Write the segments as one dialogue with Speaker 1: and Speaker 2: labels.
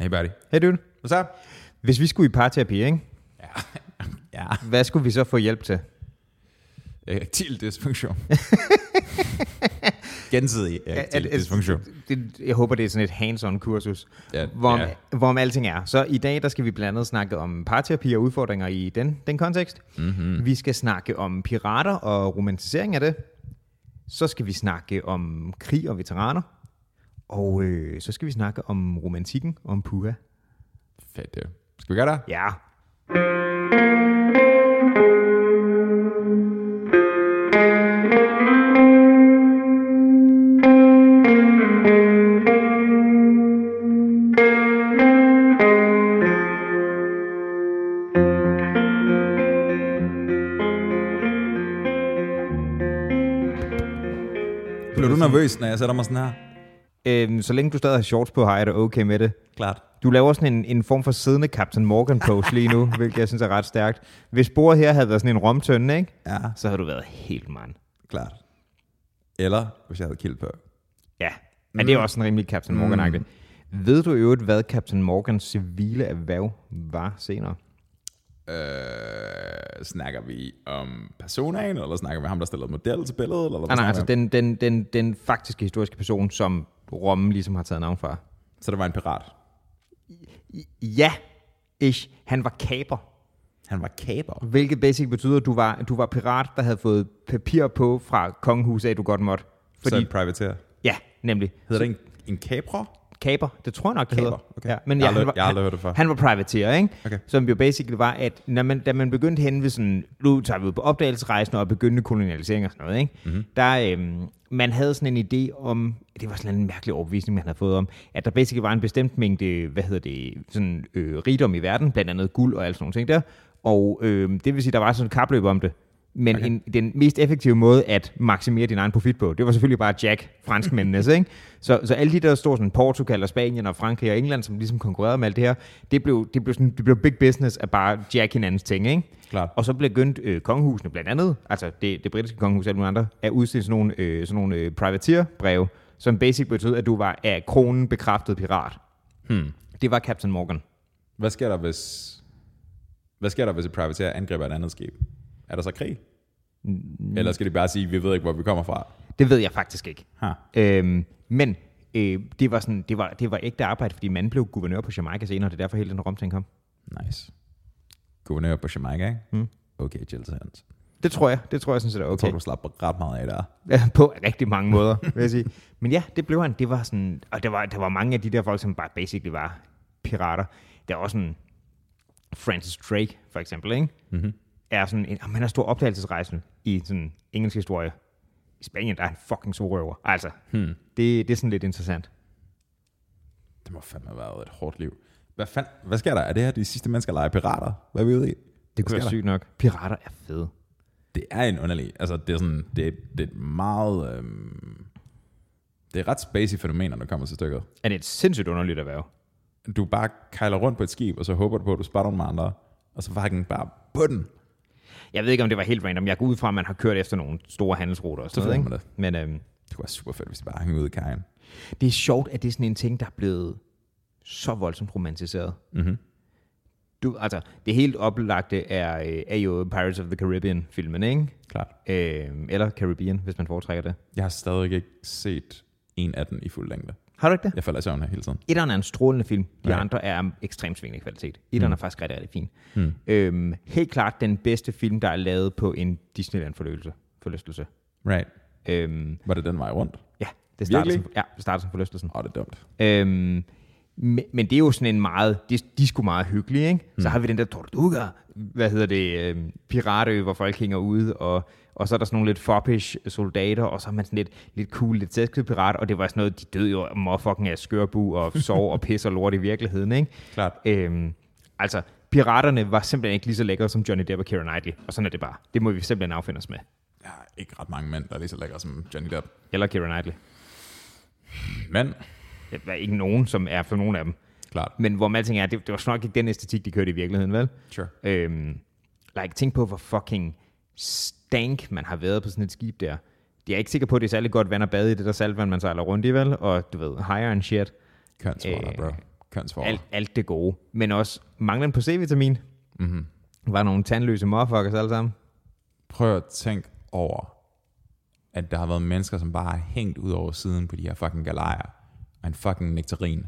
Speaker 1: Hey buddy.
Speaker 2: Hey dude,
Speaker 1: What's up?
Speaker 2: hvis vi skulle i parterapi, ikke?
Speaker 1: Ja.
Speaker 2: hvad skulle vi så få hjælp til?
Speaker 1: Erektil Øh, dysfunktion. Gensidig
Speaker 2: At-
Speaker 1: erektil
Speaker 2: at-
Speaker 1: dysfunktion.
Speaker 2: Det, jeg håber, det er sådan et hands-on kursus,
Speaker 1: Ja,
Speaker 2: hvor,
Speaker 1: ja.
Speaker 2: ja. hvor om alting er. Så i dag, der skal vi blandt andet snakke om parterapi og udfordringer i den, den kontekst. Mm-hmm. Vi skal snakke om pirater og romantisering af det. Så skal vi snakke om krig og veteraner. Og øh, så skal vi snakke om romantikken, om puha.
Speaker 1: Fedt, det. Skal vi gøre det?
Speaker 2: Ja,
Speaker 1: Blev du nervøs, når jeg sætter mig sådan her?
Speaker 2: øhm, så længe du stadig har shorts på, har jeg det okay med det.
Speaker 1: Klart.
Speaker 2: Du laver sådan en, en form for siddende Captain Morgan pose lige nu, hvilket jeg synes er ret stærkt. Hvis bordet her havde været sådan en romtønde, ikke?
Speaker 1: Ja,
Speaker 2: så havde du været helt mand.
Speaker 1: klart. Eller hvis jeg havde kildt på.
Speaker 2: Ja, men det er også en rimelig Captain Morgan-agtig. Mm. Ved du i øvrigt, hvad Captain Morgans civile erhverv var senere?
Speaker 1: Øh, snakker vi om personaen, eller snakker vi om ham, der stillede model til billedet? Eller hvad
Speaker 2: Ah, nej,
Speaker 1: snakker
Speaker 2: altså
Speaker 1: vi om?
Speaker 2: den, den, den, den faktiske historiske person, som Romme ligesom har taget navn fra.
Speaker 1: Så det var en pirat.
Speaker 2: Ja, ish. Han var kaper.
Speaker 1: Han var kaber.
Speaker 2: Hvilket basic betyder, at du var, du var pirat, der havde fået papir på fra kongehuset af, at du godt måtte.
Speaker 1: Fordi... Så
Speaker 2: Fordi,
Speaker 1: en privateer.
Speaker 2: ja, nemlig.
Speaker 1: Hedder det en, en kabra?
Speaker 2: Kaper, det tror jeg nok, det
Speaker 1: Kaper,
Speaker 2: hedder.
Speaker 1: okay.
Speaker 2: Ja, men
Speaker 1: Jeg
Speaker 2: ja,
Speaker 1: har aldrig-
Speaker 2: han, var,
Speaker 1: jeg har aldrig
Speaker 2: han-
Speaker 1: hørt det før.
Speaker 2: Han var privateer, ikke?
Speaker 1: Okay.
Speaker 2: Som jo basically var, at når man, da man begyndte hen ved sådan, nu tager vi ud på opdagelsesrejsen og begyndte kolonialisering og sådan noget, ikke?
Speaker 1: Mhm.
Speaker 2: Mm-hmm. Der, øhm, man havde sådan en idé om, det var sådan en mærkelig overbevisning, man havde fået om, at der basically var en bestemt mængde, hvad hedder det, sådan øh, rigdom i verden, blandt andet guld og alt sådan nogle ting der, og øh, det vil sige, der var sådan et kapløb om det. Men okay. en, den mest effektive måde at maksimere din egen profit på, det var selvfølgelig bare Jack, franskmændenes, ikke? Så, så alle de der store sådan Portugal og Spanien og Frankrig og England, som ligesom konkurrerede med alt det her, det blev, det blev, sådan, det blev big business at bare Jack hinandens ting, ikke?
Speaker 1: Klart.
Speaker 2: Og så begyndte øh, kongehusene blandt andet, altså det, det britiske kongehus og alle mulige andre, at udstille sådan nogle, øh, sådan nogle øh, privateerbreve, som basic betød, at du var af kronen bekræftet pirat.
Speaker 1: Hmm.
Speaker 2: Det var Captain Morgan.
Speaker 1: Hvad sker der, hvis... Hvad sker der, hvis et privateer angriber et andet skib? Er der så krig? Mm. Eller skal de bare sige, vi ved ikke, hvor vi kommer fra?
Speaker 2: Det ved jeg faktisk ikke.
Speaker 1: Ha.
Speaker 2: Øhm, men øh, det, var sådan, det, var, det var ægte arbejde, fordi manden blev guvernør på Jamaica senere, og det er derfor hele den romting kom.
Speaker 1: Nice. Guvernør på Jamaica, ikke?
Speaker 2: Mm.
Speaker 1: Okay, Jill Sands.
Speaker 2: Det tror jeg. Det tror jeg sådan set er
Speaker 1: Okay.
Speaker 2: okay.
Speaker 1: Tror du slapper ret meget af der.
Speaker 2: på rigtig mange måder, vil jeg sige. Men ja, det blev han. Det var sådan, og der var, der var mange af de der folk, som bare basically var pirater. Der var også sådan Francis Drake, for eksempel, ikke?
Speaker 1: Mm-hmm.
Speaker 2: er sådan en, jamen, han er stor opdagelsesrejsen i sådan engelsk historie. I Spanien, der er han fucking sorøver. Altså,
Speaker 1: Hmm.
Speaker 2: det, det er sådan lidt interessant.
Speaker 1: Det må fandme have været et hårdt liv. Hvad, fand, hvad sker der? Er det her de sidste mennesker, der leger pirater? Hvad er vi ude i?
Speaker 2: Det kunne
Speaker 1: sker
Speaker 2: være
Speaker 1: der?
Speaker 2: sygt nok. Pirater er fede.
Speaker 1: Det er en underlig... Altså, det er sådan... Det, er- det er et meget... Øhm, det er et ret spacey fænomen, når det kommer til stykket.
Speaker 2: Er det et sindssygt underligt erhverv?
Speaker 1: du bare kejler rundt på et skib, og så håber du på, at du spotter nogle andre, og så fucking bare på den.
Speaker 2: Jeg ved ikke, om det var helt random. Jeg går ud fra, at man har kørt efter nogle store handelsruter og sådan noget. Ikke?
Speaker 1: Selvfølgelig
Speaker 2: Men øhm,
Speaker 1: Det kunne være super fedt, hvis de bare hang ud i kajen.
Speaker 2: det er sjovt, at det er sådan en ting, der er blevet så voldsomt romantiseret.
Speaker 1: Mm-hmm.
Speaker 2: Du, altså, det helt oplagte er, øh, er jo Pirates of the Caribbean-filmen, ikke?
Speaker 1: Klart.
Speaker 2: Øh, eller Caribbean, hvis man foretrækker det.
Speaker 1: Jeg har stadig ikke set en af den i fuld længde.
Speaker 2: Har du ikke det?
Speaker 1: Jeg falder i søvn her hele tiden.
Speaker 2: Etteren er en strålende film. De
Speaker 1: Ja.
Speaker 2: andre er ekstremt svingende kvalitet. Etteren er faktisk rigtig, rigtig fin.
Speaker 1: Hmm.
Speaker 2: Øhm, helt klart den bedste film, der er lavet på en Disneyland-forlystelse. Forlystelse.
Speaker 1: Right.
Speaker 2: Øhm,
Speaker 1: Var det den vej rundt?
Speaker 2: ja, det starter,
Speaker 1: Virkelig?
Speaker 2: som, ja, det starter som forlystelsen.
Speaker 1: Åh, oh, det er dumt.
Speaker 2: Øhm, men, men det er jo sådan en meget, de, de er sgu meget hyggelige, ikke? Så har vi den der Tortuga, hvad hedder det, øhm, piratø, hvor folk hænger ude, og, og så er der sådan nogle lidt foppish soldater, og så er man sådan lidt, lidt cool, lidt tæsket pirat, og det var sådan noget, de døde jo motherfucking af skørbu og sov og pis og lort i virkeligheden, ikke?
Speaker 1: Klart.
Speaker 2: Øhm, altså, piraterne var simpelthen ikke lige så lækre som Johnny Depp og Keira Knightley, og sådan er det bare. Det må vi simpelthen affinde os med.
Speaker 1: Jeg har ikke ret mange mænd, der er lige så lækre som Johnny Depp.
Speaker 2: Eller Keira Knightley.
Speaker 1: Men,
Speaker 2: Der er ikke nogen, som er for nogen af dem.
Speaker 1: klart.
Speaker 2: Men hvor man alting er, det, det var snart ikke den æstetik, de kørte i virkeligheden, vel?
Speaker 1: Sure.
Speaker 2: Øhm, like, tænk på, hvor fucking stank man har været på sådan et skib der. Jeg er ikke sikker på, at det er særlig godt vand at bade i det der saltvand, man sejler rundt i, vel? Og du ved, higher and shit.
Speaker 1: Kønsrotter,
Speaker 2: Øh,
Speaker 1: bro. kønsforhold.
Speaker 2: alt, alt det gode. Men også manglen på C-vitamin.
Speaker 1: Mm-hmm.
Speaker 2: Var nogle tandløse motherfuckers alle sammen.
Speaker 1: Prøv at tænke over, at der har været mennesker, som bare har hængt ud over siden på de her fucking galejer, og en fucking nektarin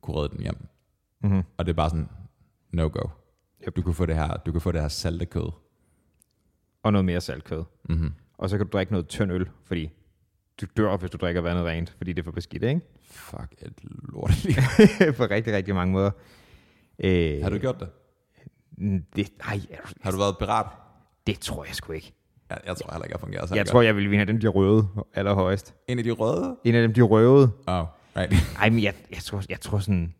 Speaker 1: kunne redde dem hjem.
Speaker 2: Mm-hmm.
Speaker 1: Og det er bare sådan, no go. Yep. Du, kan få det her, du kan få det her salte kød.
Speaker 2: Og noget mere saltkød.
Speaker 1: Mm-hmm.
Speaker 2: Og så kan du drikke noget tynd øl, fordi du dør, hvis du drikker vandet rent, fordi det er for beskidt, ikke?
Speaker 1: Fuck et lort. liv.
Speaker 2: på rigtig, rigtig mange måder. Øh,
Speaker 1: har du gjort det?
Speaker 2: Det, ej, er du-
Speaker 1: Har du været pirat?
Speaker 2: det tror jeg sgu ikke.
Speaker 1: Jeg, jeg tror heller ikke, jeg fungerer så
Speaker 2: Jeg tror, jeg ville vinde af dem, de røde allerhøjst.
Speaker 1: En af de røde?
Speaker 2: En af dem, de røde.
Speaker 1: Oh, right.
Speaker 2: Ej, men jeg, jeg, tror, jeg tror sådan...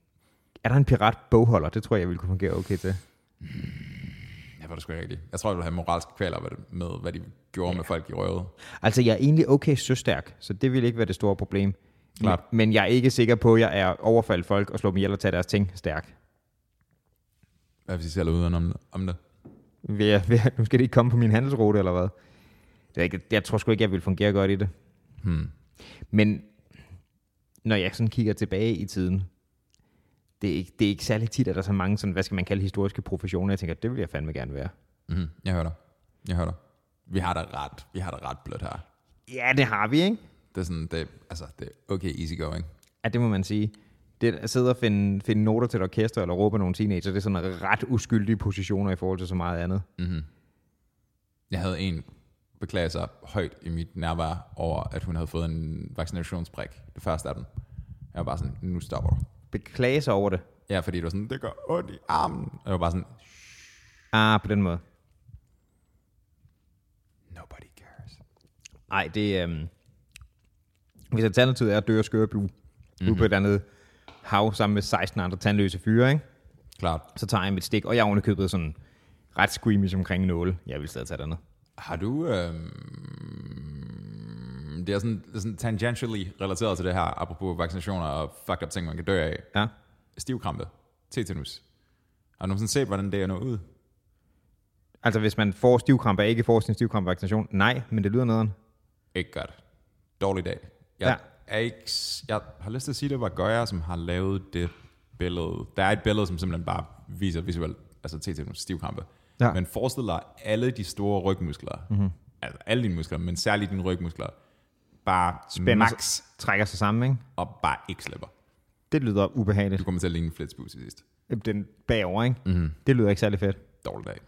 Speaker 2: Er der en pirat bogholder? Det tror jeg, jeg ville kunne fungere okay til.
Speaker 1: Jeg var det sgu ikke rigtigt. Jeg tror, jeg ville have moralske kvaler med, med hvad de gjorde ja. med folk i røvet.
Speaker 2: Altså, jeg er egentlig okay søstærk, så det ville ikke være det store problem.
Speaker 1: Klart.
Speaker 2: Men, men jeg er ikke sikker på, at jeg er overfaldt folk og slå dem ihjel og tage deres ting stærk.
Speaker 1: Hvad hvis de sælger uden om, om det?
Speaker 2: Vil jeg, vil jeg, nu skal det ikke komme på min handelsrute, eller hvad? Det er ikke, jeg tror sgu ikke, jeg ville fungere godt i det.
Speaker 1: Hmm.
Speaker 2: Men når jeg sådan kigger tilbage i tiden, det er, ikke, det er ikke særlig tit, at der er så mange sådan, hvad skal man kalde historiske professioner, jeg tænker, det vil jeg fandme gerne være.
Speaker 1: Mm-hmm. Jeg hører dig. Jeg hører dig. Vi har det ret. Vi har det ret blødt her.
Speaker 2: Ja, det har vi, ikke?
Speaker 1: Det er sådan, det, er- altså, det er okay easy going.
Speaker 2: Ja, det må man sige. Det at sidde og finde, finde noter til et orkester eller råbe af nogle teenager, det er sådan ret uskyldige positioner i forhold til så meget andet.
Speaker 1: Mm-hmm. Jeg havde en beklage sig højt i mit nærvær over, at hun havde fået en vaccinationsbrik. Det første af dem. Jeg var bare sådan, nu stopper du.
Speaker 2: Beklage sig over det.
Speaker 1: Ja, fordi det var sådan, det gør ondt i armen. Og jeg var bare sådan,
Speaker 2: Ah, på den måde.
Speaker 1: nobody cares.
Speaker 2: Nej, det øhm, Hvis alternativet er at dø af skøre blue, mm-hmm. på et andet hav sammen med 16 andre tandløse fyre, ikke?
Speaker 1: Klart.
Speaker 2: så tager jeg mit stik, og jeg er ovenikøbet sådan ret squeamish omkring nåle. Jeg vil stadig tage det andet.
Speaker 1: Har du... Øh... Det er sådan, det er sådan tangentially relateret til det her, apropos vaccinationer og fucked up ting, man kan dø af.
Speaker 2: Ja.
Speaker 1: Stivkrampe. Tetanus. Har du nogensinde set, hvordan det er nået ud?
Speaker 2: Altså hvis man får stivkramp og ikke får sin stivkrampvaccination, nej, men det lyder nederen.
Speaker 1: Ikke godt. Dårlig dag. Jeg, ja. er ikke, s- jeg har lyst til at sige, at det var Goya, som har lavet det billede. Der er et billede, som simpelthen bare viser visuelt, altså tetanus, stivkrampe.
Speaker 2: Ja.
Speaker 1: Ja. Men forestil dig alle de store rygmuskler, mm-hmm. altså alle dine muskler, men særligt dine rygmuskler, bare Spændende.
Speaker 2: Spænder sig-
Speaker 1: max
Speaker 2: Trækker sig sammen, ikke?
Speaker 1: og bare ikke slipper.
Speaker 2: Det lyder ubehageligt.
Speaker 1: Du kommer til at ligne en flitsbue til sidst.
Speaker 2: Den bagover, ikke? Mm-hmm. Det lyder ikke særlig fedt.
Speaker 1: Dårlig dag.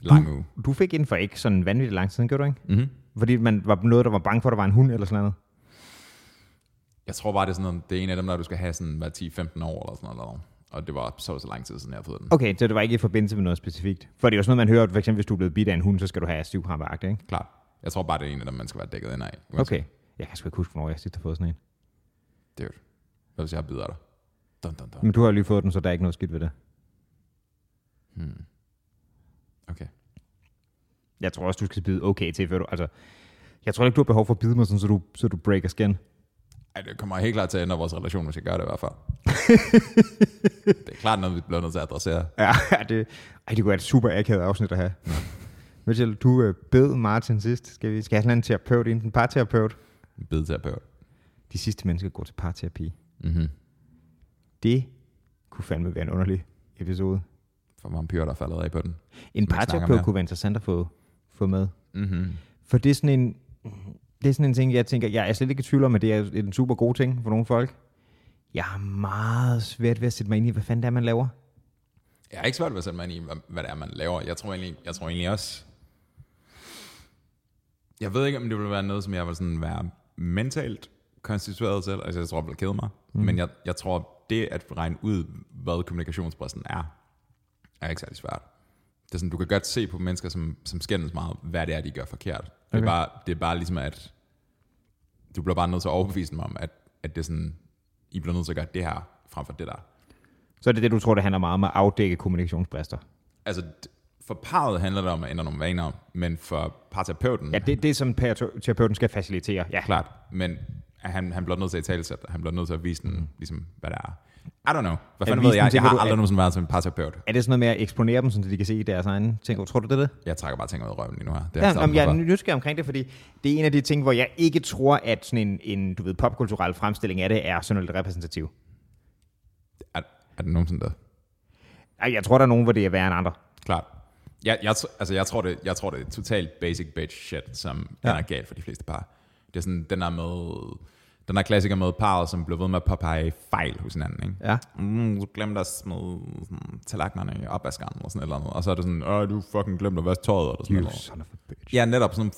Speaker 1: Lang uge.
Speaker 2: Du fik inden for ikke sådan vanvittigt lang tid, siden, gjorde du ikke?
Speaker 1: Mm-hmm.
Speaker 2: Fordi man var noget, der var bange for, at der var en hund eller sådan noget.
Speaker 1: Jeg tror bare, det er sådan noget, det er en af dem, der du skal have sådan hver 10-15 år eller sådan noget. Og det var så så lang tid siden, jeg har fået den.
Speaker 2: Okay, så det var ikke i forbindelse med noget specifikt. For det er jo sådan noget, man hører, at for eksempel hvis du er blevet bidt af en hund, så skal du have stivkrampagtigt, ikke?
Speaker 1: Klart. Jeg tror bare, det er en af dem, man skal være dækket ind af. Uanset.
Speaker 2: Okay. Jeg kan sgu ikke huske, hvornår jeg sidst har fået sådan en.
Speaker 1: Dude. Hvad hvis jeg bider dig? Dun, dun, dun.
Speaker 2: Men du har jo lige fået den, så der er ikke noget skidt ved det.
Speaker 1: Hmm. Okay.
Speaker 2: Jeg tror også, du skal bide okay til, før du... Altså, jeg tror ikke, du har behov for at bide mig, sådan, så, du, så du breaker skin.
Speaker 1: Ej, det kommer helt klart til at ændre vores relation, hvis jeg gør det i hvert fald. det er klart noget, vi bliver nødt til at adressere.
Speaker 2: Ja, det, ej, det kunne være et super akavet afsnit at have. Mitchell, du øh, bed Martin sidst. Skal vi skal jeg have sådan en eller anden terapeut, enten parterapeut?
Speaker 1: Bedterapeut.
Speaker 2: De sidste mennesker går til parterapi.
Speaker 1: Mm-hmm.
Speaker 2: Det kunne fandme være en underlig episode.
Speaker 1: For vampyrer, der er faldet af på den.
Speaker 2: En
Speaker 1: snakker
Speaker 2: parterapeut
Speaker 1: med.
Speaker 2: kunne være interessant at få, få med.
Speaker 1: Mm-hmm.
Speaker 2: For det er sådan en, det er sådan en ting, jeg tænker, jeg er slet ikke i tvivl om, at det er en super god ting for nogle folk. Jeg har meget svært ved at sætte mig ind i, hvad fanden det er, man laver.
Speaker 1: Jeg er ikke svært ved at sætte mig ind i, hvad, hvad det er, man laver. Jeg tror egentlig, jeg tror egentlig også... Jeg ved ikke, om det ville være noget, som jeg ville sådan være mentalt konstitueret til. Altså, jeg tror, jeg ville kede mig. Mm. Men jeg, jeg tror, det at regne ud, hvad kommunikationsbræsten er, er ikke særlig svært. Det er sådan, du kan godt se på mennesker, som, som skændes meget, hvad det er, de gør forkert. Okay. Det,
Speaker 2: Okay.
Speaker 1: er bare, det er bare ligesom, at du bliver bare nødt til at overbevise dem om, at, at det er sådan, I bliver nødt til at gøre det her, frem for det der.
Speaker 2: Så er det det, du tror, det handler meget om at afdække kommunikationsbrister.
Speaker 1: altså d- for parret handler det om at ændre nogle vaner, men for parterapeuten,
Speaker 2: Ja,
Speaker 1: ja.
Speaker 2: det, det er som parate- terapeuten skal facilitere. Ja,
Speaker 1: klart, men at han, han bliver nødt til at tale sig, han bliver nødt til at vise den, ligesom, hvad der er. I don't know. Hvad fanden
Speaker 2: Mm. vise
Speaker 1: ved
Speaker 2: den
Speaker 1: jeg?
Speaker 2: til,
Speaker 1: Jeg
Speaker 2: hvad
Speaker 1: har
Speaker 2: du-
Speaker 1: aldrig nogensinde været som en parterapeut.
Speaker 2: Er det sådan noget med at eksponere dem, så de kan se deres egne ting? Tror du, det er det?
Speaker 1: Jeg trækker bare ting ud af røven lige nu her. Det altså
Speaker 2: Ja,
Speaker 1: har
Speaker 2: jamen, jeg er
Speaker 1: jeg
Speaker 2: nysgerrig omkring det, fordi det er en af de ting, hvor jeg ikke tror, at sådan en, en du ved, popkulturel fremstilling af det er sådan lidt repræsentativ.
Speaker 1: Er, er det nogensinde der?
Speaker 2: Ej, Jeg tror, der er nogen, hvor det er værre end andre.
Speaker 1: Klart. Jeg, jeg, tr- altså, jeg, tror det, jeg tror, det er totalt basic bitch shit, som ja. er galt for de fleste par. Det er sådan, den er med... Den er klassiker med parret, som blev ved med at påpege fejl hos hinanden, ikke?
Speaker 2: Ja.
Speaker 1: Mm, du glemte at smide sådan, tallerkenerne i opvaskeren, eller sådan et eller andet. Og så er det sådan, åh, du fucking glemte at vaske tøjet, eller sådan
Speaker 2: You
Speaker 1: noget.
Speaker 2: son of a bitch.
Speaker 1: Ja, netop sådan nogle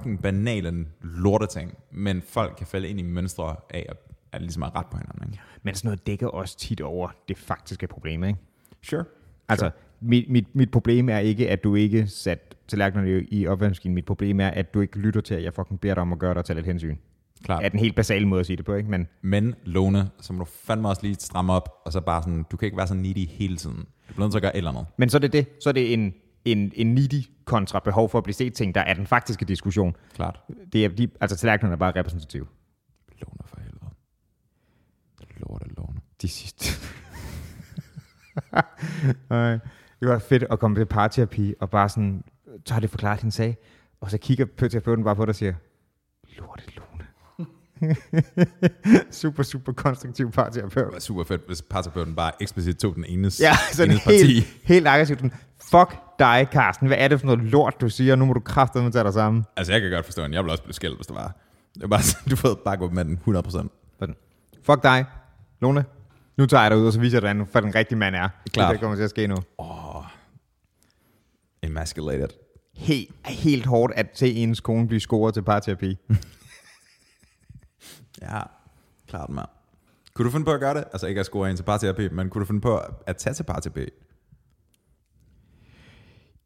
Speaker 1: fucking banale lorteting, men folk kan falde ind i mønstre af at, at ligesom at rette på hinanden, ikke?
Speaker 2: Men sådan noget dækker også tit over det faktiske problem, ikke?
Speaker 1: Sure.
Speaker 2: Altså, mit, mit, mit problem er ikke, at du ikke satte tallerkenerne i opvaskemaskinen. Mit problem er, at du ikke lytter til, at jeg fucking beder dig om at gøre dig til lidt hensyn.
Speaker 1: Klart.
Speaker 2: Er den helt basale måde at sige det på, ikke? Men
Speaker 1: Men Lone, så må du fandme også lige stramme op, og så bare sådan, du kan ikke være så needy hele tiden. Du bliver nødt til at gøre et eller andet.
Speaker 2: Men så er det det. Så er det en, en, en needy kontra behov for at blive set ting, der er den faktiske diskussion.
Speaker 1: Klart.
Speaker 2: Det er, de, altså tallerkenerne er bare repræsentative.
Speaker 1: Lone for helvede. Lorte, Lone.
Speaker 2: De sidste. Ej, det var fedt at komme til parterapi og bare sådan, så har det forklaret hendes sag. Og så kigger terapeuten bare på dig og siger, lorte Lone. super, super konstruktiv parterapeut.
Speaker 1: Det var super fedt, hvis parterapeuten bare eksplicit tog den enes,
Speaker 2: Ja, sådan
Speaker 1: enes
Speaker 2: helt, helt aggressivt. sådan, Fuck dig, Carsten. Hvad er det for noget lort, du siger? Nu må du kraftedeme tage dig sammen.
Speaker 1: Altså, jeg kan godt forstå den. Jeg ville også blive skældt, hvis det var. Det var bare, sådan, du ved bare gå med den 100%.
Speaker 2: Sådan. Fuck dig, Lone. Nu tager jeg dig ud, og så viser jeg dig, hvordan- hvad den rigtige mand er.
Speaker 1: Klart.
Speaker 2: Det, der kommer til at ske nu.
Speaker 1: Emasculated.
Speaker 2: Helt, helt hårdt at se ens kone blive scoret til parterapi.
Speaker 1: Ja, klart, mand. Kunne du finde på at gøre det? Altså ikke at score en til parterapi, men kunne du finde på at tage til parterapi?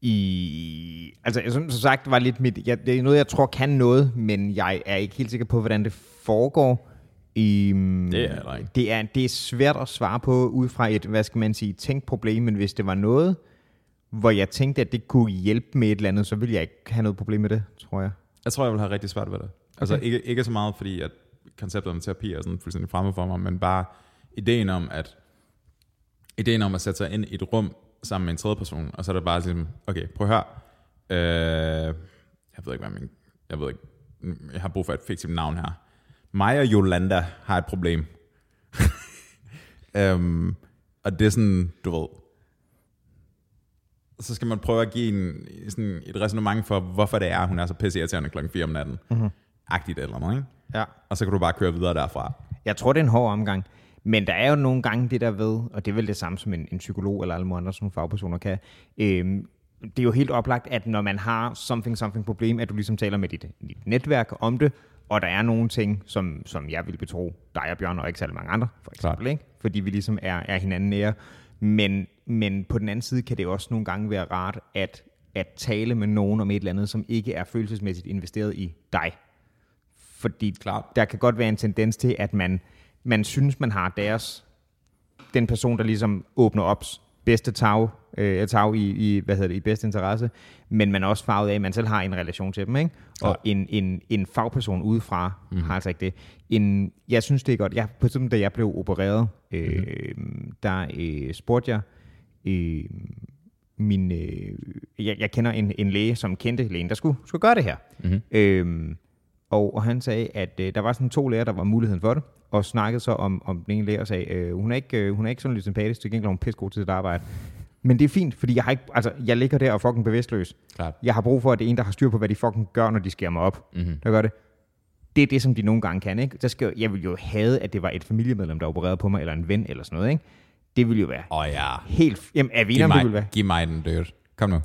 Speaker 2: I, altså, som, som sagt var lidt mit... Jeg, det er noget, jeg tror kan noget, men jeg er ikke helt sikker på, hvordan det foregår. I,
Speaker 1: Det er jeg heller ikke.
Speaker 2: det er, det er svært at svare på ud fra et, hvad skal man sige, tænkt problem, men hvis det var noget, hvor jeg tænkte, at det kunne hjælpe med et eller andet, så ville jeg ikke have noget problem med det, tror jeg.
Speaker 1: Jeg tror, jeg vil have rigtig svært ved det. Altså ikke, ikke så meget, fordi at konceptet om terapi er sådan fuldstændig fremmed for mig, men bare ideen om at ideen om at sætte sig ind i et rum sammen med en tredje person, og så er det bare sådan, okay, prøv at høre, øh, jeg ved ikke, hvad min, jeg ved ikke, jeg har brug for et fiktivt navn her. Mig og Jolanda har et problem. øhm, og det er sådan, du ved, så skal man prøve at give en, sådan et resonemang for, hvorfor det er, hun er så pisseirriterende klokken 4 om natten. Mm-hmm. Agtigt eller noget, ikke?
Speaker 2: Ja.
Speaker 1: Og så kan du bare køre videre derfra.
Speaker 2: Jeg tror, det er en hård omgang. Men der er jo nogle gange det der ved, og det er vel det samme som en, en psykolog eller alle mulige andre sådan nogle fagpersoner kan. Øhm, det er jo helt oplagt, at når man har something, something problem, at du ligesom taler med dit, dit netværk om det, og der er nogle ting, som, som jeg vil betro dig og Bjørn, og ikke særlig mange andre, for eksempel, ikke? fordi vi ligesom er, er hinanden nære. Men, men på den anden side kan det også nogle gange være rart at, at tale med nogen om et eller andet, som ikke er følelsesmæssigt investeret i dig. Fordi
Speaker 1: Klart.
Speaker 2: der kan godt være en tendens til, at man, man synes, man har deres, den person, der ligesom åbner op bedste tag, øh, tag i, i, hvad hedder det, i bedste interesse, men man er også farvet af, at man selv har en relation til dem, ikke? Og en, en, en fagperson udefra mm. har altså ikke det. En, jeg synes, det er godt. Jeg, på et tidspunkt, da jeg blev opereret, øh, der øh, spurgte jeg, øh, min, øh, jeg, jeg kender en, en læge, som kendte lægen, der skulle, skulle gøre det her. Mm-hmm. Øhm, og, og han sagde, at øh, der var sådan to læger, der var muligheden for det, og snakkede så om, om den ene læge og sagde, øh, hun, er ikke, øh, hun er ikke sådan lidt sympatisk, til gengæld er hun pissegod til sit arbejde. Men det er fint, fordi jeg, har ikke, altså, jeg ligger der og er fucking bevidstløs.
Speaker 1: Klart.
Speaker 2: Jeg har brug for, at det er en, der har styr på, hvad de fucking gør, når de skærer mig op. Mm-hmm. Der gør det. Det er det, som de nogle gange kan, ikke? Der skal, jo- jeg ville jo have, at det var et familiemedlem, der opererede på mig, eller en ven, eller sådan noget, ikke? Det ville jo være
Speaker 1: Åh oh, ja.
Speaker 2: helt... Jamen, er vi enige
Speaker 1: Giv
Speaker 2: om, det ville være?
Speaker 1: mig, giv mig den, dude. Kom nu.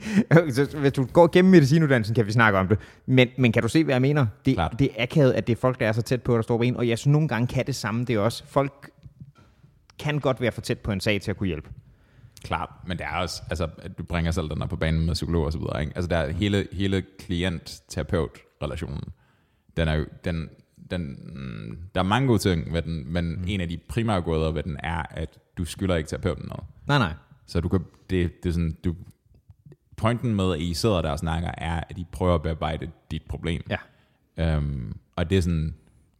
Speaker 2: Så Hvis du går gennem medicinuddannelsen, kan vi snakke om det. Men, men kan du se, hvad jeg mener? Det,
Speaker 1: Klart.
Speaker 2: det er akavet, at det er folk, der er så tæt på, der står på en. Og jeg synes, nogle gange kan det samme det også. Folk kan godt være for tæt på en sag til at kunne hjælpe.
Speaker 1: Klart, men det er også, altså, at du bringer selv den her på banen med psykolog og så videre, ikke? Altså, der er hele, hele klient-terapeut-relationen. Den er jo, den, den, mm, der er mange gode ting ved den, men mm. en af de primære gåder ved den er, at du skylder ikke terapeuten noget.
Speaker 2: Nej, nej.
Speaker 1: Så du kan, det, det er sådan, du, pointen med, at I sidder der og snakker, er, at I prøver at bearbejde dit problem.
Speaker 2: Ja.
Speaker 1: Øhm, og det er sådan,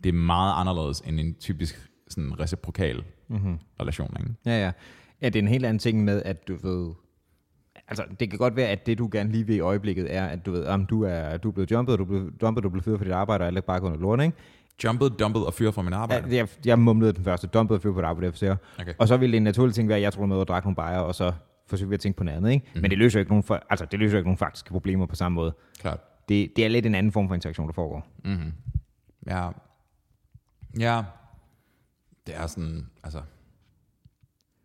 Speaker 1: det er meget anderledes end en typisk sådan reciprokal
Speaker 2: Mhm.
Speaker 1: mm-hmm. relation, ikke?
Speaker 2: Ja, ja. Ja, det er en helt anden ting med, at du ved... Altså, det kan godt være, at det, du gerne lige vil i øjeblikket, er, at du ved, om du er, du er blevet jumpet, og du er blevet, dumpet, du er blevet fyret for dit arbejde, og alle er bare gået under lort, ikke?
Speaker 1: Jumpet, dumpet og fyret fra min arbejde.
Speaker 2: Jeg, jeg mumlede den første, dumpede fyr på et arbejde, der
Speaker 1: Okay.
Speaker 2: Og så ville en naturlig ting være, at jeg troede med og drak nogle bajer, og så forsøgte vi at tænke på noget andet. Ikke? Mm. Men det løser jo ikke nogen, for, altså, det løser jo ikke nogen faktiske problemer på samme måde.
Speaker 1: Klart.
Speaker 2: Det, det er lidt en anden form for interaktion, der foregår.
Speaker 1: Ja. Ja. Det er sådan, altså...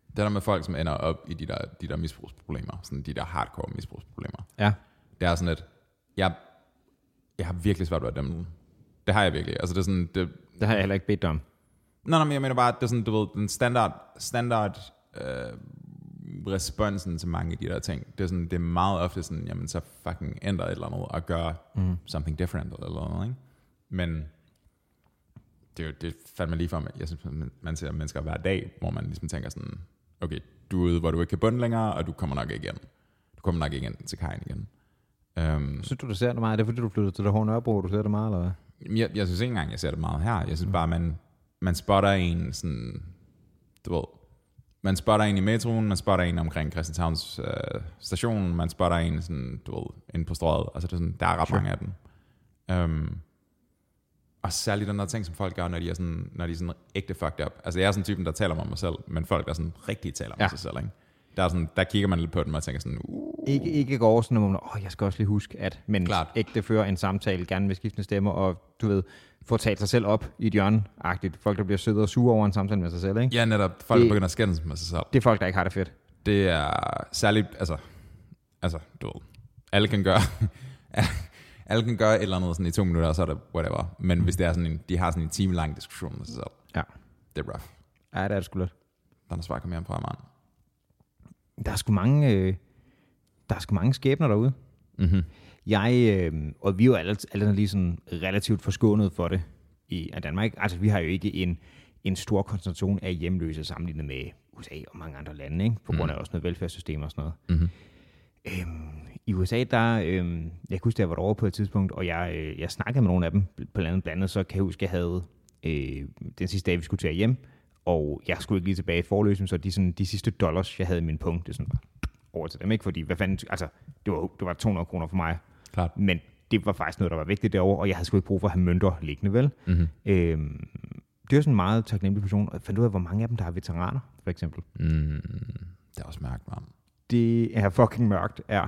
Speaker 1: Det der med folk, som ender op i de der, de der misbrugsproblemer, sådan de der hardcore misbrugsproblemer,
Speaker 2: Ja.
Speaker 1: det er sådan, at jeg, jeg har virkelig svært ved at dømme nogen. Det har jeg virkelig. Altså det er sådan, det,
Speaker 2: Det har jeg heller ikke bedt om.
Speaker 1: nej, nej, men jeg mener bare, at det er sådan, du ved, den standard, standard øh, responsen til mange af de der ting, det er sådan, det er meget ofte sådan, jamen så fucking ændre et eller andet, og gøre mm. something different, eller eller andet, ikke? Men det er jo det fandt man lige for, jeg synes, man- man ser mennesker hver dag, hvor man ligesom tænker sådan, okay, du er ude, hvor du ikke kan bunde længere, og du kommer nok ikke igen. Du kommer nok ikke igen til kajen igen. Øhm,
Speaker 2: Synes du, du ser det meget? Er det fordi, du flyttede til det hårde Nørrebro, du ser det meget, eller hvad?
Speaker 1: Jamen, Jeg, jeg synes ikke engang, jeg ser det meget her. Jeg synes bare, man, man spotter en sådan, du ved, man spotter en i metroen, man spotter en omkring Christianshavns øh, station, man spotter en sådan, du ved, inde på strøget. Altså, det er sådan, der er ret sure. mange af dem. Um, og særligt den der ting, som folk gør, når de er sådan, når de er sådan ægte fucked up. Altså, jeg er sådan typen, der taler om mig selv, men folk, der sådan rigtig taler om ja.
Speaker 2: Ja.
Speaker 1: sig selv, ikke? Der, er sådan, der kigger man lidt på dem og tænker sådan, uh,
Speaker 2: Ikke, ikke går sådan, at man, åh, jeg skal også lige huske, at men
Speaker 1: Klart.
Speaker 2: ægte fører en samtale, gerne med skiftende stemmer, og du ved, får talt sig selv op i et hjørne-agtigt. Folk, der bliver søde og sure over en samtale med sig selv, ikke?
Speaker 1: ja, netop, folk det...
Speaker 2: Det-
Speaker 1: begynder at skændes med sig selv.
Speaker 2: Det er folk, der ikke har det fedt.
Speaker 1: det er særligt, altså, altså, du ved, alle kan gøre, alle kan gøre et eller andet sådan i to minutter, og så er det whatever. Men hvis det er sådan en, de har sådan en time lang diskussion med sig selv,
Speaker 2: Ja.
Speaker 1: det er rough.
Speaker 2: Ja, det er det sgu lidt.
Speaker 1: Der er noget svar at komme hjem fra, mand.
Speaker 2: Der er sgu mange, øh, der er sgu mange skæbner derude.
Speaker 1: Mm-hmm.
Speaker 2: Jeg, øh, og vi er jo alle, alle lige sådan relativt forskånet for det i af Danmark. Altså, vi har jo ikke en, en stor koncentration af hjemløse sammenlignet med USA og mange andre lande, ikke? på grund af også noget velfærdssystem og sådan noget. Øhm,
Speaker 1: Mm-hmm.
Speaker 2: I USA, der, øh, jeg kan huske, da jeg var derovre på et tidspunkt, og jeg, øh, jeg snakkede med nogle af dem, på landet blandt andet, så kan jeg huske, jeg havde øh, den sidste dag, vi skulle tage hjem, og jeg skulle ikke lige tilbage i forløsning, så de, sådan, de sidste dollars, jeg havde i min punkt, det sådan bare over til dem, ikke? Fordi, hvad fanden, altså, det var, det var 200 kroner for mig,
Speaker 1: Klart.
Speaker 2: men det var faktisk noget, der var vigtigt derovre, og jeg havde sgu ikke brug for at have mønter liggende, vel?
Speaker 1: Mm-hmm.
Speaker 2: Øhm, det er sådan en meget taknemmelig person, og jeg fandt ud af, hvor mange af dem, der er veteraner, for eksempel.
Speaker 1: Mm, det er også mærkt, mand.
Speaker 2: Det er fucking mørkt, er,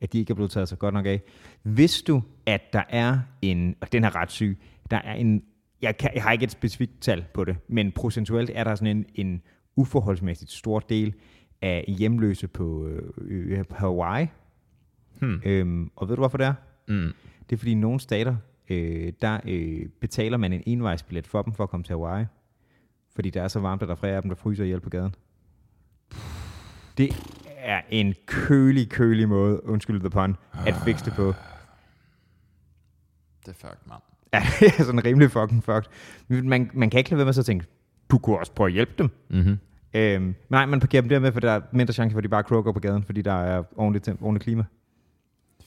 Speaker 2: at de ikke er blevet taget så godt nok af. Vidste du, at der er en, og den er ret syg, der er en, jeg, kan, jeg har ikke et specifikt tal på det, men procentuelt er der sådan en, en uforholdsmæssigt stor del af hjemløse på øh, øh, Hawaii.
Speaker 1: Hmm.
Speaker 2: Øhm, og ved du, hvorfor det er?
Speaker 1: Mm.
Speaker 2: Det er fordi i nogle stater, øh, der øh, betaler man en envejsbillet for dem for at komme til Hawaii. Fordi der er så varmt, at der er flere af dem, der fryser ihjel på gaden. Det er en kølig, kølig måde, undskyld the pun, at fikse det på.
Speaker 1: Det er fucked, mand.
Speaker 2: Ja, det er sådan rimelig fucking fucked. Men man, man kan ikke lade være med så at tænke, du kunne også prøve at hjælpe dem.
Speaker 1: Mm-hmm.
Speaker 2: Øhm, men nej, man parkerer dem dermed, for der er mindre chance for, at de bare kroger på gaden, fordi der er ordentligt, temp- ordentligt klima.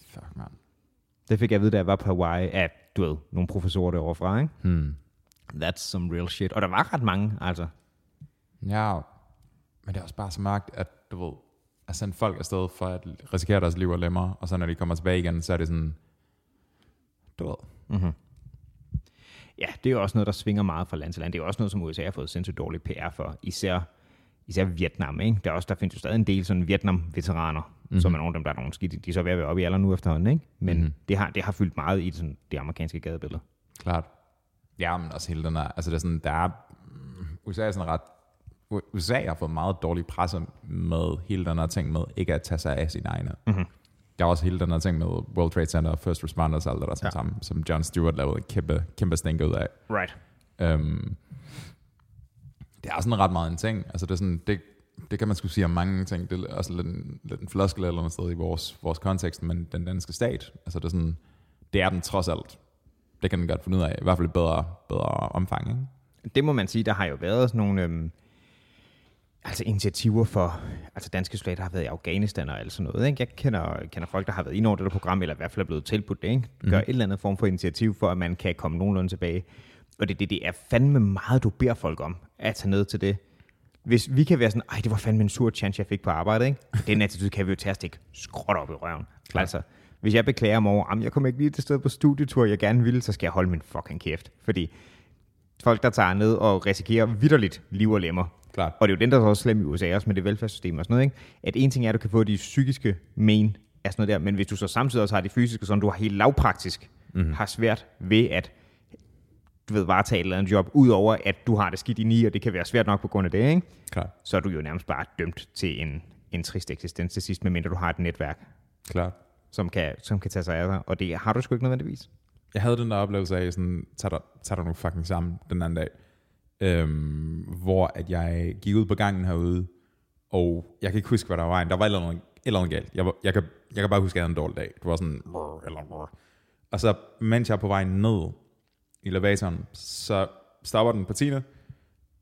Speaker 1: Fuck, mand.
Speaker 2: Det fik jeg at vide, da jeg var på Hawaii, af, du ved, nogle professorer derovre fra, ikke?
Speaker 1: Hmm.
Speaker 2: That's some real shit. Og der var ret mange, altså.
Speaker 1: Ja, men det er også bare så mørkt, at du ved, at sende folk afsted for at risikere deres liv og lemmer, og så når de kommer tilbage igen, så er det sådan, du ved,
Speaker 2: Mhm. Ja, det er jo også noget, der svinger meget fra land til land. Det er jo også noget, som USA har fået sindssygt dårlig PR for, især, især Vietnam. Ikke? Der, er også, der findes jo stadig en del sådan Vietnam-veteraner, mm-hmm. som er nogle af dem, der er nogle skidt. De er så ved at være oppe i alderen nu efterhånden, ikke? men mm-hmm. det, har, det har fyldt meget i sådan, det amerikanske gadebillede.
Speaker 1: Klart. Ja, men også hele den der, altså det er sådan, der er, mm, USA er sådan ret, U- USA har fået meget dårlig presse med hele den her ting med ikke at tage sig af sine egne. Mm-hmm. Der er også hele den her ting med World Trade Center og First Responders og alt det der ja.
Speaker 2: Ja.
Speaker 1: sammen, som John Stewart lavede et kæmpe, kæmpe stænk ud af.
Speaker 2: Right.
Speaker 1: Øhm, det er sådan ret meget en ting. Altså det, er sådan, det, det kan man skulle sige om mange ting. Det er også lidt en, lidt en floskel eller noget sted i vores, vores kontekst, men den danske stat, altså det er, sådan, det er den trods alt. Det kan den godt finde ud af. I hvert fald i bedre, bedre omfang. Ikke?
Speaker 2: Det må man sige, der har jo været sådan nogle øhm, altså initiativer for, altså danske soldater har været i Afghanistan og alt sådan noget. Ikke? Jeg kender, kender folk, der har været inde over det der program, eller i hvert fald er blevet tilbudt det. Ikke? Gør et eller andet form for initiativ for, at man kan komme nogenlunde tilbage. Og det, det, det er fandme meget, du beder folk om at tage ned til det. Hvis vi kan være sådan, ej, det var fandme en sur chance, jeg fik på arbejde, ikke? Den attitude kan vi jo tage at stikke skråt op i røven. Klar. Altså, hvis jeg beklager mig over, at jeg kom ikke lige til sted på studietur, jeg gerne ville, så skal jeg holde min fucking kæft. Fordi Folk, der tager ned og risikerer vidderligt liv og lemmer.
Speaker 1: Klart.
Speaker 2: Og det er jo den, der er også slem i USA også med det velfærdssystem og sådan noget. Ikke? At en ting er, at du kan få de psykiske men af sådan noget der, men hvis du så samtidig også har det fysiske, sådan du har helt lavpraktisk, mm-hmm. har svært ved at du ved, varetage et eller andet job, udover at du har det skidt i ni, og det kan være svært nok på grund af det, ikke?
Speaker 1: Klart.
Speaker 2: så er du jo nærmest bare dømt til en, en trist eksistens til sidst, medmindre du har et netværk,
Speaker 1: Klart.
Speaker 2: som kan, som kan tage sig af dig, og det har du sgu ikke nødvendigvis.
Speaker 1: Jeg havde den der oplevelse af, sådan, tag dig, tag dig nu fucking sammen den anden dag, øhm, hvor at jeg gik ud på gangen herude, og jeg kan ikke huske, hvad der var vejen. Der var et eller andet, et eller andet galt. Jeg, var, jeg, kan, jeg kan bare huske, at jeg havde en dårlig dag. Det var sådan... "Brr," Eller, "Brr." og så, mens jeg er på vej ned i elevatoren, så stopper den på Tina,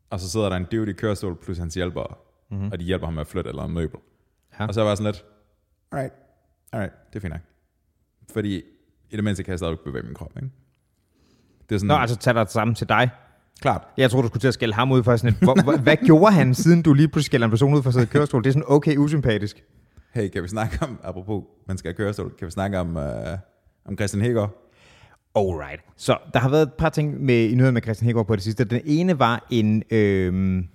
Speaker 1: og så sidder der en dude i kørestol, plus hans hjælpere, mm-hmm. og de hjælper ham med at flytte eller en møbel.
Speaker 2: Mhm. Ja.
Speaker 1: Ja. Og så var jeg sådan lidt, alright, alright, det er fint nok. Fordi i det mindste kan jeg stadig bevæge min krop, ikke? Det er sådan,
Speaker 2: Nå, altså tag dig sammen til dig.
Speaker 1: klart,
Speaker 2: Jeg tror, du skulle til at skælde ham ud for sådan et, hvor, hvor, hvad gjorde han, siden du lige pludselig skælder en person ud for at sidde i kørestol? Det er sådan okay usympatisk.
Speaker 1: hey, kan vi snakke om, apropos, man skal køre så kan vi snakke om, øh, om Christian Hækker?
Speaker 2: Alright. Så der har været et par ting med, i nyheden med Christian Hækgaard på det sidste. Den ene var en, øhm,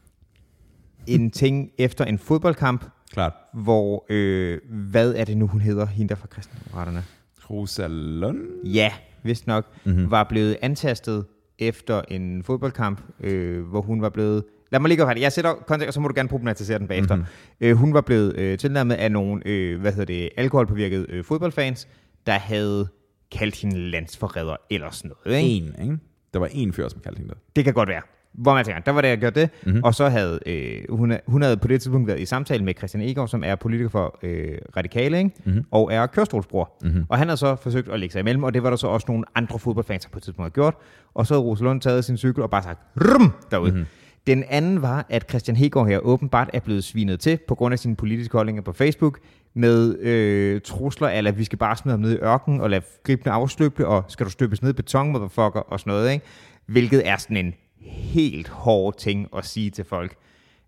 Speaker 2: en ting efter en fodboldkamp,
Speaker 1: Klart.
Speaker 2: hvor, øh, hvad er det nu, hun hedder, hende der fra Kristendemokraterne?
Speaker 1: Rosa Lund?
Speaker 2: Ja, vist nok, mm-hmm. var blevet antastet efter en fodboldkamp, øh, hvor hun var blevet... Lad mig lige gå færdig. Jeg sætter kontekst, og så må du gerne problematisere den bagefter. Mm-hmm. Øh, hun var blevet øh, tilnærmet af nogle, øh, hvad hedder det, alkoholpåvirkede øh, fodboldfans, der havde kaldt hende landsforræder eller sådan noget. Ikke?
Speaker 1: En, ikke? Der var en fyr, som kaldte hende det.
Speaker 2: Det kan godt være. Hvor man tænker, der var det, jeg gjorde det. Mm-hmm. Og så havde øh, hun, hun havde på det tidspunkt været i samtale med Christian Egaard, som er politiker for øh, Radikale, ikke? Mm-hmm. og er kørestolsbror. Mm-hmm. Og han havde så forsøgt at lægge sig imellem, og det var der så også nogle andre fodboldfans, der på et tidspunkt havde gjort. Og så havde Rosalund taget sin cykel og bare sagt, rum derude. Mm-hmm. Den anden var, at Christian Hegård her åbenbart er blevet svinet til på grund af sine politiske holdninger på Facebook med øh, trusler, eller vi skal bare smide ham ned i ørkenen og lade gribende afstøbe, og skal du støbes ned i beton, motherfucker, og sådan noget, ikke? Hvilket er sådan en helt hård ting at sige til folk.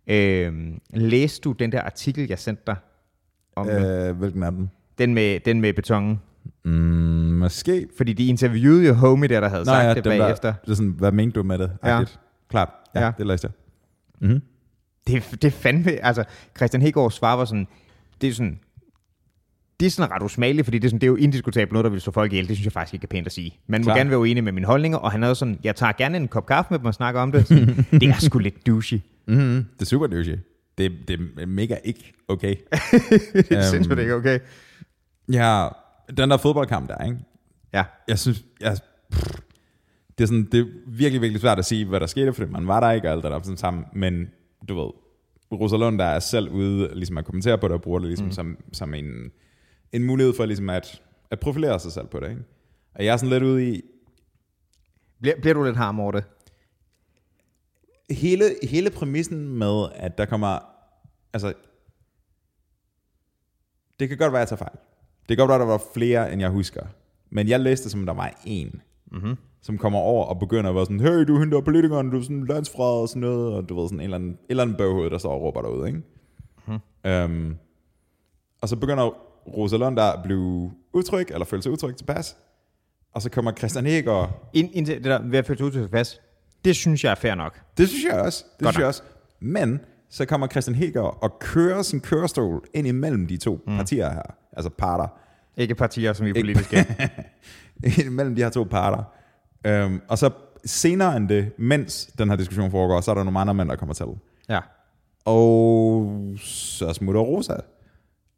Speaker 2: Øh, læste du den der artikel, jeg sendte dig? Om øh.
Speaker 1: Øh, hvilken af dem?
Speaker 2: den, med, den med betongen?
Speaker 1: Mm, måske.
Speaker 2: Fordi de interviewede jo homie der, der havde Nå, sagt ja, det
Speaker 1: dem, der,
Speaker 2: bagefter.
Speaker 1: det er sådan, hvad mente du med det?
Speaker 2: Ja.
Speaker 1: Agtigt. Klart, ja,
Speaker 2: Ja. Mhm.
Speaker 1: ja, det læste jeg.
Speaker 2: det, det er fandme, altså Christian Hegård svar var sådan, det er sådan, det er sådan ret usmageligt, fordi det er, sådan, det er jo indiskutabelt noget, der vil slå folk ihjel. Det synes jeg faktisk ikke er pænt at sige. Man må
Speaker 1: Klart.
Speaker 2: gerne være uenig med mine holdninger, og han havde sådan, jeg tager gerne en kop kaffe med dem og snakker om det. Sådan, det er sgu lidt douchey. Mhm.
Speaker 1: Mm-hmm. Det er super douchey. Det, det er mega ikke okay.
Speaker 2: det er sindssygt ikke, okay?
Speaker 1: ja, den der fodboldkamp der, ikke?
Speaker 2: Ja,
Speaker 1: jeg synes, jeg, pff, det, er sådan, det er virkelig, virkelig svært at sige, hvad der skete, fordi man var der ikke, og alt det der sådan sammen, men du ved, Rosalund, der er selv ude ligesom at kommentere på det, og bruger det ligesom mm. som, som en, en mulighed for ligesom at, at profilere sig selv på det, ikke? Og jeg er sådan lidt ude i,
Speaker 2: bliver, bliver du lidt harm over det?
Speaker 1: hele, hele præmissen med, at der kommer... Altså, det kan godt være, at jeg tager fejl. Det kan godt være, at der var flere, end jeg husker. Men jeg læste, som der var en, mm-hmm. som kommer over og begynder at være sådan, hey, du henter politikeren, du er sådan landsfred og sådan noget, og du ved sådan en eller anden, en eller anden bøvhoved, der står og råber derude, ikke? Mm-hmm. Øhm, og så begynder Rosalund der at blive utryg, eller føle sig utryg tilpas. Og så kommer Christian Hækker
Speaker 2: Ind, indtil det der, ved at føle sig utilfreds fast, det synes jeg er fair nok.
Speaker 1: Det synes jeg også. Det
Speaker 2: Godt
Speaker 1: synes jeg også. Men så kommer Christian Heger og kører sin kørestol ind imellem de to mm. partier her. Altså parter.
Speaker 2: Ikke partier, som vi er politiske.
Speaker 1: Ind imellem de her to parter. Øhm, og så senere end det, mens den her diskussion foregår, så er der nogle andre mænd, der kommer til.
Speaker 2: ja.
Speaker 1: Og så smutter Rosa.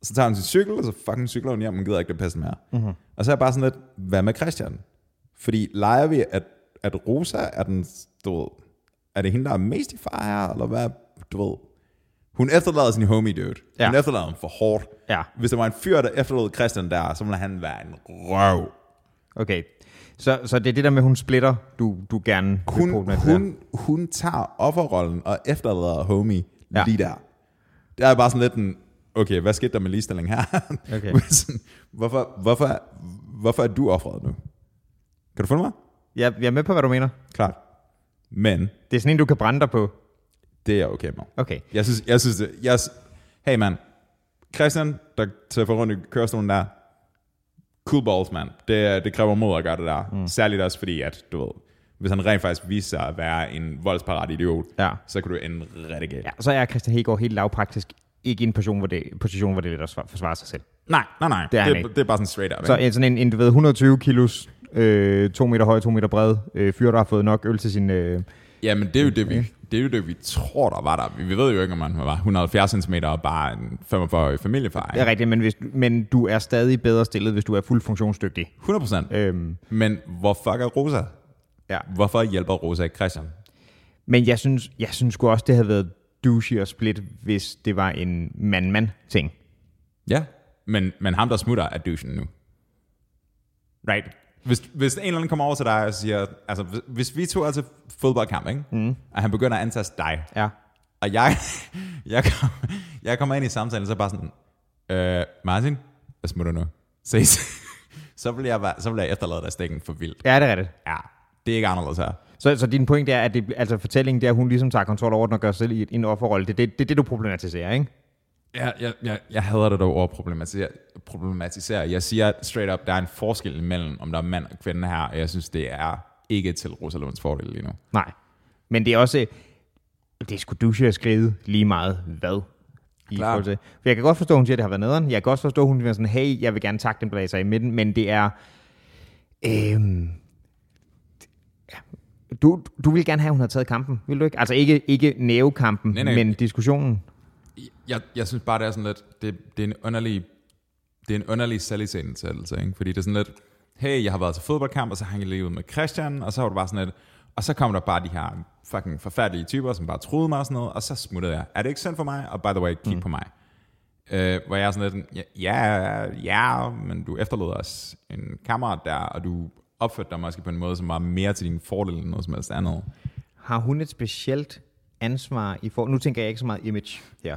Speaker 1: Så tager hun sin cykel, og så fucking cykler hun hjem, hun gider ikke det pisse mere. Mm-hmm. Og så er jeg bare sådan lidt, hvad med Christian? Fordi leger vi, at, at Rosa er den, du ved, er det hende, der er mest i far her, eller hvad, du ved? Hun efterlader sin homie, dude.
Speaker 2: Ja.
Speaker 1: Ja. Hun efterlader ham for hårdt.
Speaker 2: Ja.
Speaker 1: Hvis der var en fyr, der efterlod Christian der, så ville han være en røv.
Speaker 2: Okay. Så, så det er det der med, hun splitter, du, du gerne vil
Speaker 1: Hun,
Speaker 2: problematisere.
Speaker 1: hun, hun tager offerrollen og efterlader homie
Speaker 2: Ja.
Speaker 1: ja. lige der. Der er bare sådan lidt en, okay, hvad skete der med ligestilling her?
Speaker 2: Okay.
Speaker 1: Sådan, hvorfor, hvorfor, hvorfor er du offeret nu? Kan du følge mig?
Speaker 2: Jeg, jeg er med på, hvad du mener.
Speaker 1: Klart. Men
Speaker 2: Det er sådan en, du kan brænde dig på.
Speaker 1: det er jeg okay med.
Speaker 2: Okay.
Speaker 1: Jeg synes, jeg synes det, jeg, s- hey mand, Christian, der tæffer rundt i kørestolen der, cool balls, mand. Det, det kræver mod at gøre det der. Mm. Særligt også fordi, at du ved, Hvis han rent faktisk viser sig at være en voldsparat idiot,
Speaker 2: Ja.
Speaker 1: så kan du ende rigtig galt.
Speaker 2: ja. Så er Christian Hegård helt lavpraktisk ikke i en position, hvor det, position, hvor det er lidt at svar- forsvare sig selv.
Speaker 1: Nej, nej, nej.
Speaker 2: Det er han
Speaker 1: det,
Speaker 2: ikke.
Speaker 1: det er bare sådan straight up.
Speaker 2: Så
Speaker 1: ikke?
Speaker 2: en, sådan en, en du ved, 120 kilos, øh, 2 meter høj, 2 meter bred øh, fyr, der har fået nok øl til sin... Øh,
Speaker 1: Ja, men det er, jo det, vi, det er jo det, vi tror, der var der. Vi, vi ved jo ikke, om han var 170 cm og bare en 45-årig familiefar.
Speaker 2: det er
Speaker 1: ikke?
Speaker 2: rigtigt, men, hvis, men du er stadig bedre stillet, hvis du er fuldt funktionsdygtig.
Speaker 1: 100 procent.
Speaker 2: Øhm,
Speaker 1: Men hvor fuck er Rosa?
Speaker 2: ja.
Speaker 1: Hvorfor hjælper Rosa ikke Christian?
Speaker 2: Men jeg synes, jeg synes sgu også, det havde været douche og split, hvis det var en mand-mand-ting.
Speaker 1: Ja, men, men ham, der smutter, er douchen nu.
Speaker 2: Right.
Speaker 1: Hvis, hvis en eller anden kommer over til dig og siger, altså hvis, hvis vi to er til fodboldkamp, ikke? Mm. og han begynder at antaste dig,
Speaker 2: Ja.
Speaker 1: og jeg, jeg, kom, jeg kommer ind i samtalen, så er jeg bare sådan, øh, Martin, jeg smutter nu. Ses. så, vil jeg, være- så vil jeg efterlade dig stikken for vildt.
Speaker 2: Ja, det er rigtigt.
Speaker 1: Ja, det er ikke anderledes her.
Speaker 2: Så, så din pointe er, at det, altså fortællingen, det er, at hun ligesom tager kontrol over den og gør sig selv i et- en offerrolle. Det er det, det, er det, du problematiserer, ikke?
Speaker 1: Jeg, jeg, jeg, jeg hader det dog over at problematisere, problematisere. Jeg siger straight up, der er en forskel imellem, om der er mand og kvinde her, og jeg synes, det er ikke til Rosalunds fordel lige nu.
Speaker 2: Nej. Men det er også... Det er sgu douche at skride lige meget hvad. I
Speaker 1: Klart.
Speaker 2: forhold til. For jeg kan godt forstå, at hun siger, at det har været nederen. Jeg kan også forstå, at hun er sådan, hey, jeg vil gerne takke den blazer i midten, men det er... Øhm, ja. du, du ville gerne have, at hun havde taget kampen, vil du ikke? Altså ikke, ikke nævekampen,
Speaker 1: Nej, nej.
Speaker 2: men diskussionen.
Speaker 1: Jeg, jeg synes bare, det er sådan lidt, det, det er en underlig, det er en underlig selvisindsættelse, ikke? Fordi det er sådan lidt, hey, jeg har været til fodboldkamp, og så hang jeg lige ud med Christian, og så var det bare sådan lidt, og så kom der bare de her fucking forfærdelige typer, som bare troede mig og sådan noget, og så smuttede jeg. Er det ikke synd for mig? Og by the way, kig mm. på mig. Øh, hvor jeg er sådan lidt, ja, ja, men du efterlod os en kammerat der, og du opførte dig måske på en måde, som var mere til din fordel end noget som helst andet.
Speaker 2: Har hun et specielt ansvar i for... Nu tænker jeg ikke så meget image her.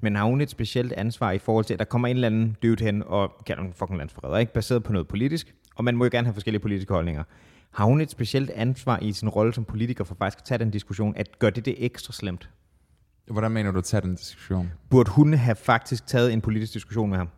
Speaker 2: Men har hun et specielt ansvar i forhold til, at der kommer en eller anden dude hen og kalder hun fucking landsforræder, ikke? Baseret på noget politisk. Og man må jo gerne have forskellige politiske holdninger. Har hun et specielt ansvar i sin rolle som politiker for faktisk at tage den diskussion, at gør det det ekstra slemt?
Speaker 1: Hvordan mener du at tage den diskussion?
Speaker 2: Burde hun have faktisk taget en politisk diskussion med ham?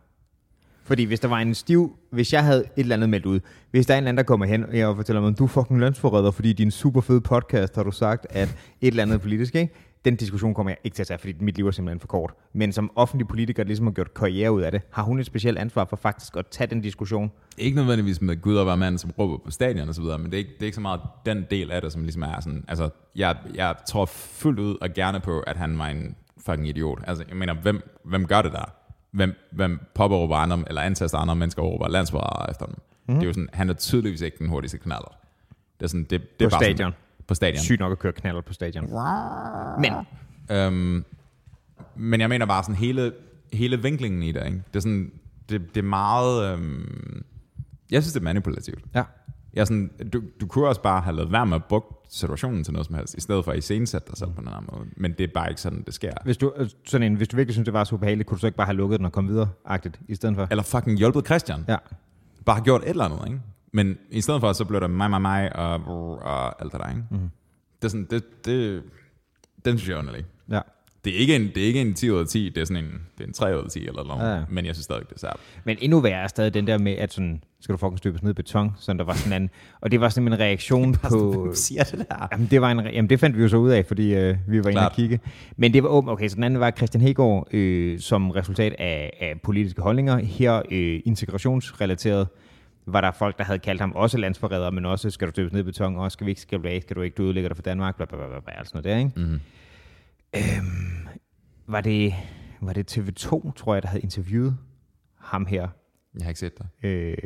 Speaker 2: Fordi hvis der var en stiv, hvis jeg havde et eller andet meldt ud, hvis der er en eller anden, der kommer hen og jeg fortæller mig, du er fucking lønsforræder, fordi i din super fede podcast har du sagt, at et eller andet er politisk, ikke? Den diskussion kommer jeg ikke til at tage, fordi mit liv er simpelthen for kort. Men som offentlig politiker, der ligesom har gjort karriere ud af det, har hun et specielt ansvar for faktisk at tage den diskussion.
Speaker 1: Ikke nødvendigvis med Gud og være mand, som råber på stadion og så videre, men det er, ikke, det er ikke så meget den del af det, som ligesom er sådan, altså, jeg, jeg tror fuldt ud og gerne på, at han var en fucking idiot. Altså, jeg mener, hvem, hvem gør det der? Hvem, hvem påberåber andre, eller antaster andre mennesker og råber landsforrædere efter dem?
Speaker 2: Mhm.
Speaker 1: Mm. Det er jo sådan, han er tydeligvis ikke den hurtigste knaller. Det er sådan, det, det er
Speaker 2: På
Speaker 1: bare
Speaker 2: stadion.
Speaker 1: Sådan, på stadion.
Speaker 2: Sygt nok at køre knaller på stadion. Men
Speaker 1: Øhm, men jeg mener bare sådan hele, hele vinklingen i det, ikke? Det er sådan, det, det er meget, øhm, jeg synes, det er manipulativt.
Speaker 2: ja,
Speaker 1: Jeg er sådan, du, du kunne også bare have lavet være med at bruge situationen til noget som helst, i stedet for at iscenesætte dig selv på en anden måde. Men det er bare ikke sådan, det sker.
Speaker 2: hvis du, øh, sådan en, hvis du virkelig synes, det var så ubehageligt, kunne du så ikke bare have lukket den og komme videre-agtigt i stedet for?
Speaker 1: Eller fucking hjulpet Christian.
Speaker 2: Ja.
Speaker 1: Bare har gjort et eller andet, ikke? Men i stedet for, så blev det mig, mig, mig og, og alt det der, ikke? Mm. Det er sådan, det, det, den synes jeg er underlig.
Speaker 2: ja.
Speaker 1: Det er ikke en, det er ikke en 10 ud af 10, det er sådan en, det er en 3 ud af 10 eller noget,
Speaker 2: Ja,
Speaker 1: ja.
Speaker 2: ja.
Speaker 1: men jeg synes stadig, det er særligt.
Speaker 2: Men endnu værre er stadig den der med, at sådan, skal du fucking støbes ned i beton, sådan der var sådan en anden. Og det var sådan en reaktion på...
Speaker 1: siger det der?
Speaker 2: Jamen det, var en, re- jamen det fandt vi jo så ud af, fordi øh, vi var inde
Speaker 1: Klart.
Speaker 2: og kigge. Men det var åbent. Okay, så den anden var Christian Hegård, øh, som resultat af, af politiske holdninger. Her øh, integrationsrelateret var der folk, der havde kaldt ham også landsforræder, men også skal du støbes ned i beton, og skal vi ikke, skal du, af, skal du ikke, du ødelægger dig for Danmark, bla bla bla, bla, bla alt sådan noget der, ikke? Mm-hmm. Øhm, var, det, var det TV2, tror jeg, der havde interviewet ham her,
Speaker 1: Jeg har ikke set dig.
Speaker 2: Øh,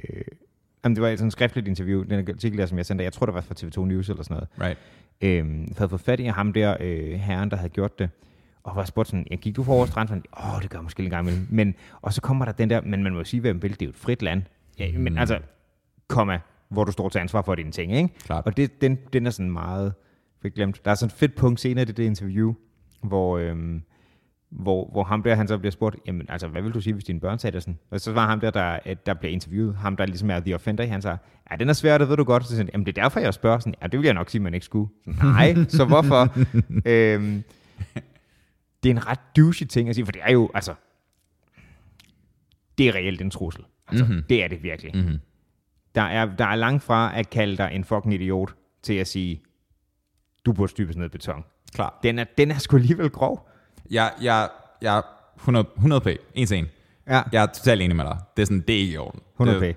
Speaker 2: jamen det var sådan et skriftligt interview, den artikel der, som jeg sendte, jeg tror, det var fra TV2 News eller sådan noget,
Speaker 1: Right.
Speaker 2: øh, havde fået fat i ham der, øh, herren, der havde gjort det, og var spurgt sådan, ja, gik du for over stranden? Åh, oh, det gør jeg måske en gang imellem. Men, og så kommer der den der, men man må jo sige, hvad man vil, det er jo et frit land. Ja, men
Speaker 1: Mm.
Speaker 2: altså, komma, hvor du står til ansvar for dine ting, ikke?
Speaker 1: Klart.
Speaker 2: Og det, den, den er sådan meget fik glemt. Der er sådan et fedt punkt senere i det, det interview, hvor, øhm, hvor, hvor ham der, han så bliver spurgt, jamen altså, hvad vil du sige, hvis dine børn sagde det sådan? Og så var ham der, der, øh, der bliver interviewet, ham der ligesom er the offender, han siger, ja, den er svær, det ved du godt. Så siger han, jamen det er derfor, jeg spørger sådan, ja, det vil jeg nok sige, man ikke skulle. Sådan, Nej, så hvorfor? øhm, det er en ret douche ting at sige, for det er jo, altså, det er reelt en trussel.
Speaker 1: Mm. Mhm.
Speaker 2: Altså, mm-hmm. det er det virkelig.
Speaker 1: Mm-hmm.
Speaker 2: Der er, der er langt fra at kalde dig en fucking idiot, til at sige, du burde stybes ned i beton.
Speaker 1: Klar.
Speaker 2: Den er, den er sgu alligevel grov.
Speaker 1: Jeg, jeg, jeg 100, 100 p. En til en.
Speaker 2: Ja,
Speaker 1: Jeg er totalt enig med dig. Det er sådan, det er ikke i orden.
Speaker 2: 100
Speaker 1: det,
Speaker 2: det,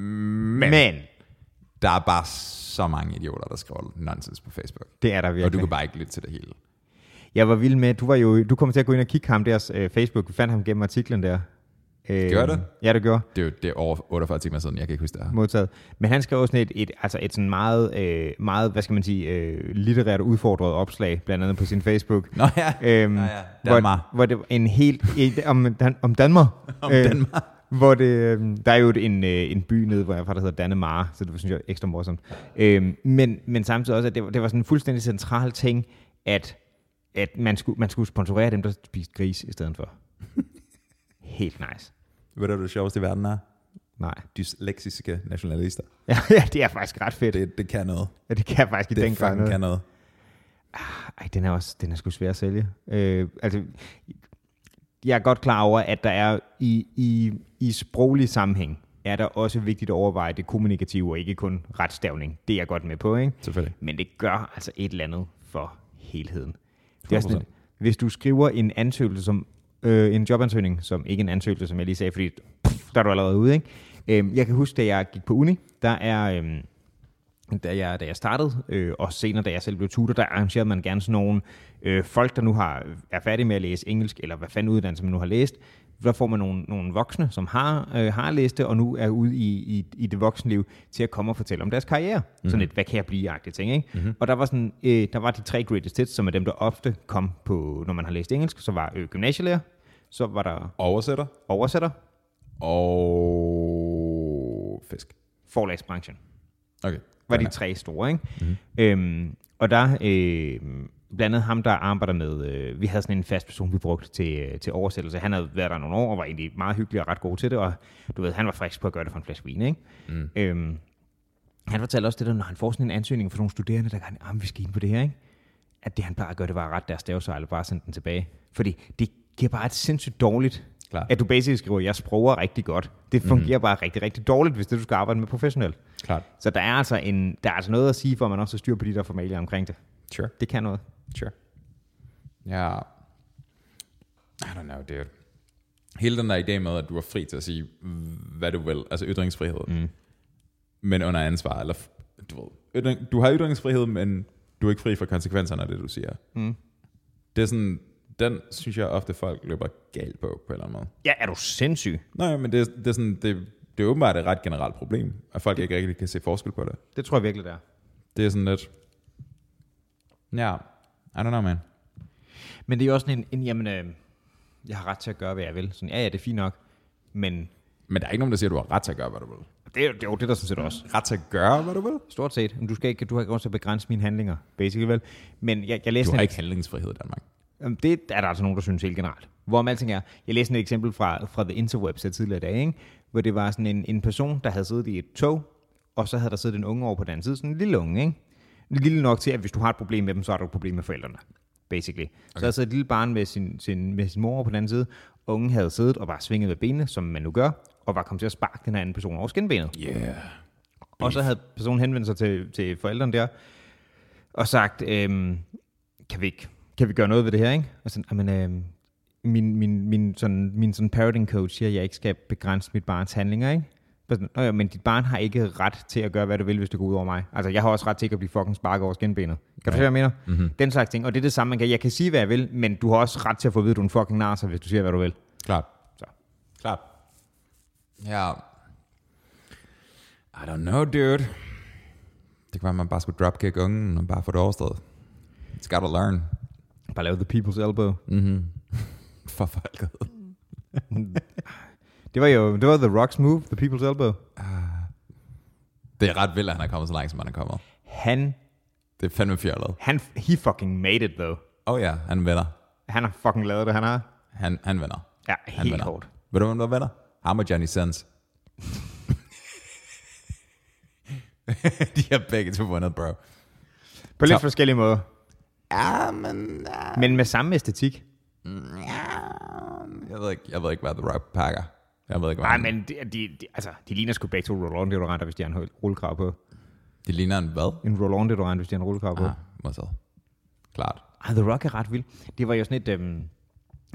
Speaker 1: Men, men,
Speaker 2: Men,
Speaker 1: der er bare så mange idioter, der skriver nonsens på Facebook.
Speaker 2: det er der
Speaker 1: Og du
Speaker 2: virkelig.
Speaker 1: kan bare ikke lytte til det hele.
Speaker 2: Jeg var vild med, du var jo, du kom til at gå ind og kigge ham deres øh, Facebook. Vi fandt ham gennem artiklen der. Øh,
Speaker 1: Gjorde det?
Speaker 2: Ja, det gjorde.
Speaker 1: Det er jo det er over 48 timer siden, jeg kan ikke huske det her.
Speaker 2: modtaget. Men han skrev også sådan et, et, altså et sådan meget, øh, meget, hvad skal man sige, øh, litterært udfordret opslag, blandt andet på sin Facebook.
Speaker 1: Nå ja,
Speaker 2: Øhm,
Speaker 1: ja, ja. Danmark.
Speaker 2: hvor, hvor det var en helt, et, om, Dan, om Danmark.
Speaker 1: Om
Speaker 2: Øh,
Speaker 1: Danmark.
Speaker 2: Hvor det, øh, der er jo et- en, øh, en by nede, hvor jeg er fra, der hedder Dannemar, så det var, synes jeg er ekstra morsomt. Øh, men, men samtidig også, at det, var- det var sådan en fuldstændig central ting, at, at man, skulle, man skulle sponsorere dem, der spiste gris i stedet for. helt nice.
Speaker 1: Ved du, hvad det sjoveste i verden er?
Speaker 2: Nej.
Speaker 1: Dysleksiske nationalister.
Speaker 2: Ja, ja, det er faktisk ret fedt.
Speaker 1: Det, det kan noget.
Speaker 2: Ja, det kan jeg faktisk i
Speaker 1: Det
Speaker 2: den grad
Speaker 1: fucking
Speaker 2: noget.
Speaker 1: kan noget.
Speaker 2: Ej, den er også, den er sgu svær at sælge. Øh, altså, jeg er godt klar over, at der er i, i, i sproglig sammenhæng, er der også vigtigt at overveje det kommunikative og ikke kun retstavning. Det er jeg godt med på, ikke?
Speaker 1: Selvfølgelig.
Speaker 2: Men det gør altså et eller andet for helheden. Det er sådan,
Speaker 1: 100%.
Speaker 2: lidt- hvis du skriver en ansøgelse som, øh, en jobansøgning, som ikke en ansøgelse, som jeg lige sagde, fordi pff, der er du allerede ude, ikke? Øhm, jeg kan huske, da jeg gik på uni, der er, øhm, da jeg, da jeg startede, øh, og senere, da jeg selv blev tutor, der arrangerede man gerne sådan nogle øh, folk, der nu har, er færdige med at læse engelsk, eller hvad fanden uddannelse man nu har læst. Der får man nogle, nogle voksne, som har, øh, har læst det, og nu er ude i, i, i det voksenliv, til at komme og fortælle om deres karriere. Mm. Sådan et, hvad kan jeg blive-agtigt ting, ikke? Mm-hmm. Og der var, sådan, øh, der var de tre greatest hits, som er dem, der ofte kom på, når man har læst engelsk. Så var øh, gymnasielærer, så var der
Speaker 1: Oversætter
Speaker 2: oversætter,
Speaker 1: og fisk.
Speaker 2: forlagsbranchen.
Speaker 1: Okay.
Speaker 2: var de tre store, ikke? Mm-hmm. Øhm, og der øh, blandt andet ham, der arbejder med, øh, vi havde sådan en fast person, vi brugte til, øh, til oversættelse. Han havde været der nogle år, og var egentlig meget hyggelig og ret god til det, og du ved, han var frisk på at gøre det for en flaske vin, ikke? Mm. Øhm, han fortalte også det der, når han får sådan en ansøgning fra nogle studerende, der kan, ah, vi skal ind på det her, ikke? At det, han plejer at gøre, det var at rette deres stavsejl og bare sende den tilbage. Fordi det giver bare et sindssygt dårligt,
Speaker 1: Klart.
Speaker 2: at du basically skriver, jeg sproger rigtig godt. Det fungerer mm. bare rigtig, rigtig dårligt, hvis det du skal arbejde med professionelt.
Speaker 1: Klart.
Speaker 2: Så der er altså, en, der er altså noget at sige, for at man også har styr på de der formalier omkring det.
Speaker 1: Sure.
Speaker 2: Det kan noget.
Speaker 1: Sure. Ja. I don't know, dude. Hele den der idé med, at du er fri til at sige, hvad du vil, altså ytringsfrihed, mm. men under ansvar, eller f- du ved, ytring, du har ytringsfrihed, men du er ikke fri for konsekvenserne af det, du siger. Mm. Det er sådan, den synes jeg ofte, folk løber galt på, på en eller anden måde.
Speaker 2: Ja, er du sindssyg?
Speaker 1: Nej, men det, er- det er sådan, det, det er åbenbart et ret generelt problem, at folk ikke rigtig kan se forskel på det.
Speaker 2: Det tror jeg virkelig, det er.
Speaker 1: Det er sådan lidt, ja, I don't know, man.
Speaker 2: Men det er jo også sådan en, en jamen, øh, jeg har ret til at gøre, hvad jeg vil. Sådan, ja, ja, det er fint nok. Men
Speaker 1: Men der er ikke nogen, der siger, at du har ret til at gøre, hvad du vil.
Speaker 2: det er jo det, er jo det der sådan set også.
Speaker 1: Ret til at gøre, hvad du vil?
Speaker 2: Stort set. Men Du, skal ikke, du har ikke grund til at begrænse mine handlinger, basically vel. Men jeg, jeg
Speaker 1: Du
Speaker 2: læste
Speaker 1: har
Speaker 2: en,
Speaker 1: ikke handlingsfrihed i Danmark.
Speaker 2: Jamen, Det er der altså nogen, der synes helt generelt. Hvorom alting er, jeg læste et eksempel fra, fra The Interwebs her tidligere i dag, ikke? hvor det var sådan en, en person, der havde siddet i et tog, og så havde der siddet en unge over på den anden side, sådan en lille unge, ikke? Lille nok til, at hvis du har et problem med dem, så har du et problem med forældrene, basically. Okay. Så havde siddet et lille barn med sin, sin, med sin mor over på den anden side, ungen havde siddet og var svinget ved benene, som man nu gør, og var kommet til at sparke den her anden person over skinbenet.
Speaker 1: Yeah.
Speaker 2: Og så havde personen henvendt sig til, til forældrene der, og sagt, øhm, kan, vi ikke, kan vi gøre noget ved det her, ikke? Og sådan, jamen, øhm, min, min, min, sådan, min sådan parenting coach siger, at jeg ikke skal begrænse mit barns handlinger, ikke? Bare Sådan, Nå ja, men dit barn har ikke ret til at gøre, hvad du vil, hvis det går ud over mig. Altså, jeg har også ret til ikke at blive fucking sparket over skinbenet. Kan du se, hvad jeg mener? Mm-hmm. Den slags ting. Og det er det samme, man kan. Jeg kan sige, hvad jeg vil, men du har også ret til at få at vide, at du er en fucking narser, hvis du siger, hvad du vil.
Speaker 1: Klart.
Speaker 2: Så.
Speaker 1: Klart. Ja. I don't know, dude. Det kan være, man bare skulle dropkick ungen og bare få det overstået. It's gotta learn. Mm-hmm.
Speaker 2: Bare lave the people's elbow.
Speaker 1: For folket.
Speaker 2: Det var jo det var The Rock's move, the people's elbow.
Speaker 1: Det er ret vildt, at han er kommet så langt, som han er kommet.
Speaker 2: Han
Speaker 1: Det er fandme fjollet.
Speaker 2: Han, he fucking made it, though.
Speaker 1: Oh ja, han vinder.
Speaker 2: Han har fucking lavet det, han har.
Speaker 1: Han, han vinder.
Speaker 2: Ja,
Speaker 1: Han
Speaker 2: helt
Speaker 1: vinder.
Speaker 2: hårdt.
Speaker 1: Ved du, hvem der vinder? Ham og Johnny Sins. De har begge to vundet, bro.
Speaker 2: På lidt
Speaker 1: Top.
Speaker 2: forskellige måder,
Speaker 1: Ja, men... ja.
Speaker 2: men med samme æstetik.
Speaker 1: Jeg ved ikke, jeg ved ikke hvad The Rock pakker. Jeg ved ikke, hvad
Speaker 2: Nej,
Speaker 1: han-
Speaker 2: men de, de, de, altså, de ligner sgu begge to roll on deodoranter, hvis de har en rullkrav på.
Speaker 1: Det ligner en hvad?
Speaker 2: En roll-on deodorant, hvis de har en rullekar på.
Speaker 1: Ah, måske. Klart.
Speaker 2: Ah. Ej, The Rock er ret vild. Det var jo sådan et... Øhm,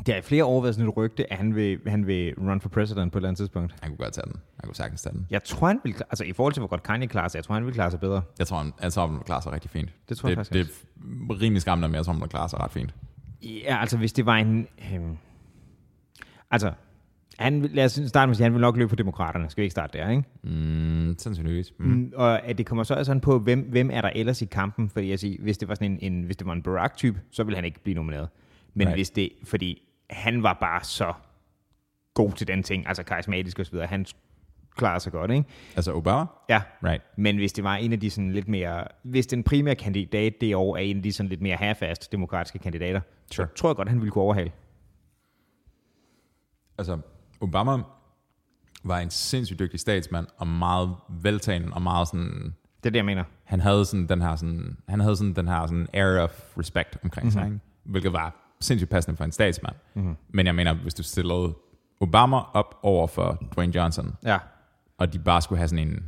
Speaker 2: det har i flere år været sådan et rygte, at han vil, han vil run for president på et eller andet tidspunkt.
Speaker 1: Han kunne godt tage den. Han kunne sagtens tage den.
Speaker 2: Jeg tror, han vil... kla- Altså, i forhold til, hvor godt Kanye klarer sig, jeg tror, han vil klare sig bedre.
Speaker 1: Jeg tror, han, jeg tror, han klarer sig rigtig fint.
Speaker 2: Det tror jeg
Speaker 1: det,
Speaker 2: faktisk
Speaker 1: det er rimelig skræmmende, men jeg tror, han klarer sig ret fint.
Speaker 2: Ja, altså, hvis det var en... Øhm, altså, han, vil- lad os starte med at sige, han vil nok løbe på demokraterne. Skal vi ikke starte der, ikke?
Speaker 1: Mm, sandsynligvis. Mm.
Speaker 2: Mm. Og at det kommer så altså an på, hvem, hvem er der ellers i kampen? Fordi jeg siger, hvis det var sådan en, en, hvis det var en Barack-type, så ville han ikke blive nomineret. Men
Speaker 1: Nej.
Speaker 2: hvis det, fordi han var bare så god til den ting, altså karismatisk og så videre, han klarer sig godt, ikke?
Speaker 1: Altså Obama?
Speaker 2: Ja.
Speaker 1: Right.
Speaker 2: Men hvis det var en af de sådan lidt mere, hvis den primære kandidat det år er en af de sådan lidt mere herfast demokratiske kandidater,
Speaker 1: Sure.
Speaker 2: så tror jeg godt, han ville kunne overhale.
Speaker 1: Altså, Obama var en sindssygt dygtig statsmand, og meget veltagen, og meget sådan...
Speaker 2: Det er det, jeg mener.
Speaker 1: Han havde sådan den her sådan, han havde sådan den her sådan air of respect omkring sig, ikke? hvilket var sindssygt passende for en statsmand. Mm-hmm. Men jeg mener, hvis du stillede Obama op over for Dwayne Johnson,
Speaker 2: Ja.
Speaker 1: og de bare skulle have sådan en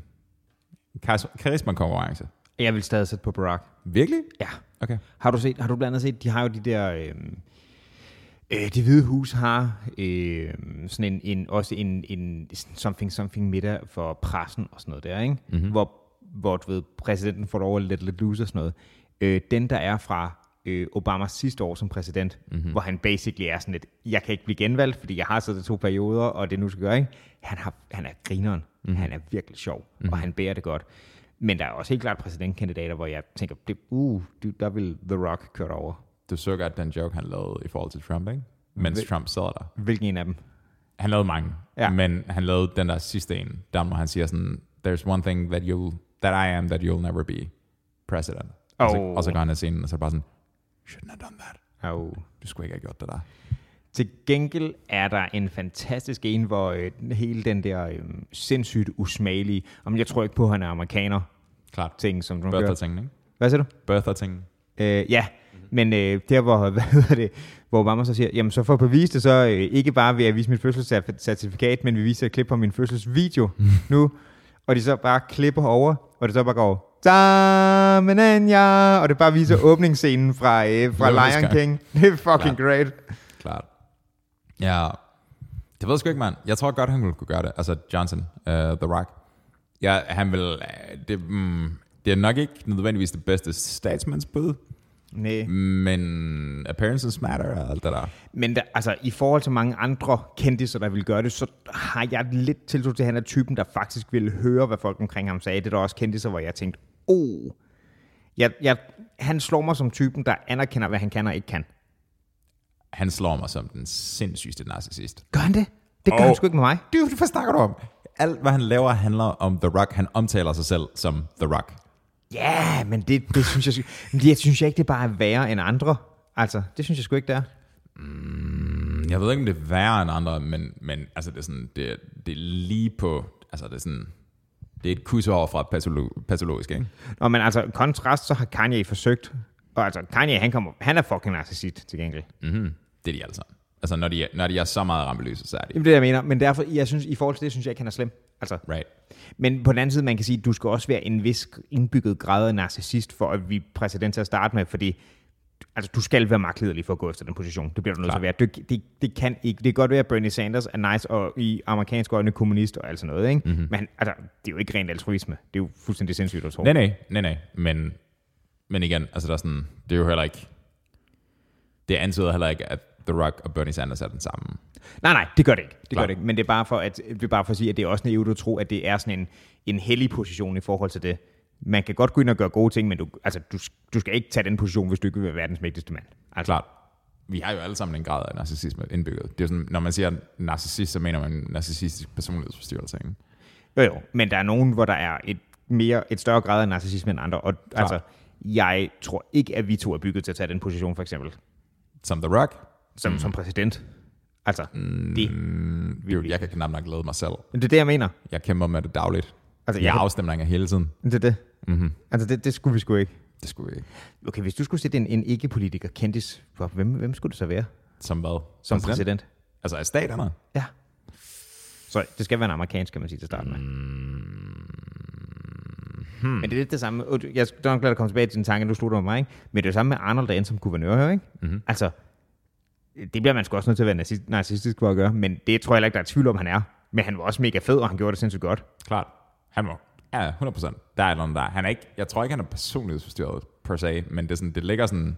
Speaker 1: kar- karisma-konkurrence.
Speaker 2: Jeg vil stadig sætte på Barack.
Speaker 1: Virkelig?
Speaker 2: Ja.
Speaker 1: Okay.
Speaker 2: Har du, set, har du blandt andet set, de har jo de der... Øh, øh, det hvide hus har øh, sådan en, en, også en, en something something middag for pressen og sådan noget der, ikke? Mm-hmm. Hvor, hvor du ved, præsidenten får lov at let lidt loose og sådan noget. Øh, den, der er fra øh, Obamas sidste år som præsident, mm-hmm. hvor han basically er sådan lidt, jeg kan ikke blive genvalgt, fordi jeg har siddet i to perioder, og det er nu skal gøre, ikke? Han, har, han er grineren. Mm-hmm. Han er virkelig sjov, mm-hmm. og han bærer det godt. Men der er også helt klart præsidentkandidater, hvor jeg tænker, det, uh, du- der vil The Rock køre dig over.
Speaker 1: Du så godt den joke, han lavede i forhold til Trump, ikke? Mens Trump sad der.
Speaker 2: Hvilken en af dem?
Speaker 1: Han lavede mange,
Speaker 2: Ja.
Speaker 1: men han lavede den der sidste en, der hvor han siger sådan, there's one thing that you'll, that I am that you'll never be president. Og, så,
Speaker 2: Oh.
Speaker 1: og så går han af scenen, og så er det bare sådan, shouldn't have done that.
Speaker 2: Au.
Speaker 1: Du skulle ikke have gjort det der.
Speaker 2: Til gengæld er der en fantastisk en, hvor øh, hele den der øh, sindssygt usmagelige, om jeg tror ikke på, at han er amerikaner,
Speaker 1: Klart.
Speaker 2: ting, som Trump gør.
Speaker 1: Bertha-tingen, ikke?
Speaker 2: Hvad siger du?
Speaker 1: Bertha-tingen.
Speaker 2: Øh, ja, men øh, der hvor, hvad hedder det, hvor Obama så siger, jamen så for at bevise det, så øh, ikke bare ved at vise mit fødselscertifikat, men vi viser et klip fra min fødselsvideo nu, og de så bare klipper over, og det så bare går, Tamananya, og det bare viser åbningsscenen fra, øh, fra
Speaker 1: Løvenes
Speaker 2: Lion
Speaker 1: Gang.
Speaker 2: King. Det er fucking
Speaker 1: Ja.
Speaker 2: great.
Speaker 1: Klart. Ja, det ved jeg sgu ikke, mand. Jeg tror godt, han ville kunne gøre det. Altså Johnson, uh, The Rock. Ja, han vil... øh, Det, mm, det er nok ikke nødvendigvis det bedste statsmandsbud,
Speaker 2: Næ.
Speaker 1: men appearances matter og alt det der.
Speaker 2: Men der, altså, i forhold til mange andre kendtiser, der vil gøre det, så har jeg lidt tiltro til, at han er typen, der faktisk ville høre, hvad folk omkring ham sagde. Det er der også kendtiser, hvor jeg tænkte, oh, jeg, jeg, han slår mig som typen, der anerkender, hvad han kan og ikke kan.
Speaker 1: Han slår mig som den sindssygste narcissist.
Speaker 2: Gør han det? Det gør
Speaker 1: Og-
Speaker 2: han sgu ikke med mig.
Speaker 1: Dude, hvad snakker du om? Alt, hvad han laver, handler om The Rock. Han omtaler sig selv som The Rock.
Speaker 2: Ja, yeah, men det, det synes jeg, sgu- men det synes jeg ikke, det bare er værre end andre. Altså, det synes jeg sgu ikke, det er.
Speaker 1: Mm, Jeg ved ikke, om det er værre end andre, men, men altså, det, er sådan, det, er- det er lige på... Altså, det er sådan... Det er et kus over fra patolo- patologisk, ikke?
Speaker 2: Nå, men altså, kontrast, så har Kanye forsøgt. Og altså, Kanye, han, kommer, han er fucking narcissist til gengæld.
Speaker 1: Mm-hmm. Det er de alle sammen. Altså, når de er, når de er så meget rampelyse, så er de...
Speaker 2: Jamen, det er det, jeg mener. Men derfor, jeg synes, i forhold til det, synes jeg ikke, han er slem. Altså,
Speaker 1: Right.
Speaker 2: Men på den anden side, man kan sige, at du skal også være en vis indbygget grad af narcissist, for at vi er præsident til at starte med, fordi altså, du skal være magtlederlig for at gå efter den position. Det bliver du nødt til at være. Det, det, det, kan ikke. Det kan godt være, at Bernie Sanders er nice, og i amerikansk øjne kommunist og alt sådan noget. Ikke? Mm-hmm. Men han- altså, det er jo ikke rent altruisme. Det er jo fuldstændig sindssygt at tro.
Speaker 1: Nej, nej, nej, nej. Men, men igen, altså, der er sådan... Det er jo heller ikke... Det antyder heller ikke, at The Rock og Bernie Sanders er den samme.
Speaker 2: Nej, nej, det gør det ikke. Det
Speaker 1: Klar.
Speaker 2: gør det ikke. Men det er bare for at, det er bare for at sige, at det er også naivt at tro, at det er sådan en, en hellig position i forhold til det. Man kan godt gå ind og gøre gode ting, men du, altså, du, du skal ikke tage den position, hvis du ikke vil være verdens mægtigste mand. Altså,
Speaker 1: Klart. Vi har jo alle sammen en grad af narcissisme indbygget. Det er jo sådan, når man siger narcissist, så mener man en narcissistisk personlighedsforstyrrelse. Ikke?
Speaker 2: Jo, jo, men der er nogen, hvor der er et, mere, et større grad af narcissisme end andre. Og altså, jeg tror ikke, at vi to er bygget til at tage den position, for eksempel,
Speaker 1: Som The Rock.
Speaker 2: som, mm. som præsident. Altså, mm. det,
Speaker 1: Dude, jeg kan knap nok glæde mig selv.
Speaker 2: det er det, jeg mener.
Speaker 1: Jeg kæmper med det dagligt.
Speaker 2: Altså,
Speaker 1: Altså,
Speaker 2: jeg
Speaker 1: jeg har
Speaker 2: kan-
Speaker 1: afstemninger hele tiden.
Speaker 2: Det er det. Mm-hmm. Altså, det, det skulle vi sgu ikke.
Speaker 1: Det skulle vi ikke.
Speaker 2: Okay, hvis du skulle sætte en, en ikke-politiker kendis, hvor- hvem, hvem skulle det så være
Speaker 1: Som hvad?
Speaker 2: som præsident?
Speaker 1: Altså af staterne?
Speaker 2: Ja. Så det skal være en amerikansk, kan man sige til starten med. Hmm. Men det er lidt det samme. Undskyld, Jeg er nok glad at komme tilbage til den tanke, du slutter med mig. Ikke? Men det er jo samme med Arnold, der endte som guvernør her. Ikke? Mm-hmm. Altså, det bliver man sgu også nødt til at være narcissist, narcissistisk for at gøre. Men det tror jeg heller ikke, der er tvivl om, han er. Men han var også mega fed, og han gjorde det sindssygt godt.
Speaker 1: Klart. Han var. Ja, 100%. Der er et eller andet der. Han er ikke, jeg tror ikke, han er personlighedsforstyrret per se, men det, er sådan, det ligger sådan,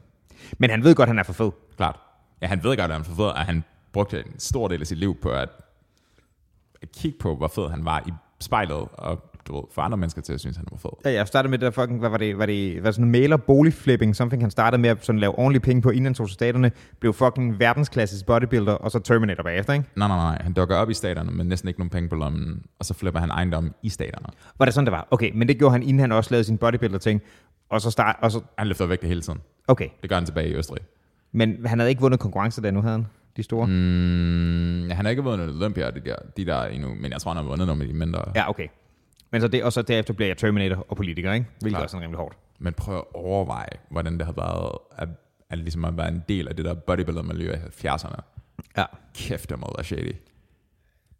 Speaker 2: Men han ved godt, at han er for fed.
Speaker 1: klart. Ja, han ved godt, at han er for fed, og han brugte en stor del af sit liv på at, at kigge på, hvor fed han var i spejlet, og du ved, få andre mennesker til at synes, han var fed.
Speaker 2: Ja, jeg startede med det der fucking, hvad var det, var det, var sådan en maler boligflipping, something han startede med at sådan lave ordentlige penge på, inden han tog til staterne, blev fucking verdensklasses bodybuilder, og så Terminator bagefter, ikke?
Speaker 1: Nej, nej, nej. Han dukker op i staterne, men næsten ikke nogen penge på lommen, og så flipper han ejendommen i staterne.
Speaker 2: Var det sådan, det var? Okay, men det gjorde han, inden han også lavede sin bodybuilder-ting, og så start, og så,
Speaker 1: Han løfter væk det hele tiden.
Speaker 2: okay,
Speaker 1: Det gør han tilbage i Østrig.
Speaker 2: men han havde ikke vundet konkurrencer, der nu havde han, de store. Mm.
Speaker 1: Mm, han har ikke vundet Olympia, og de der, de der endnu, men jeg tror, han har vundet nogle af de mindre.
Speaker 2: Ja, okay. Men så det, og så derefter bliver jeg Terminator og politiker, ikke? Hvilket
Speaker 1: Klart.
Speaker 2: også er rimelig hårdt.
Speaker 1: Men prøv at overveje, hvordan det har været at, at, ligesom at være en del af det der bodybuilder-miljø i 70'erne.
Speaker 2: Ja.
Speaker 1: Kæft, det må have været shady.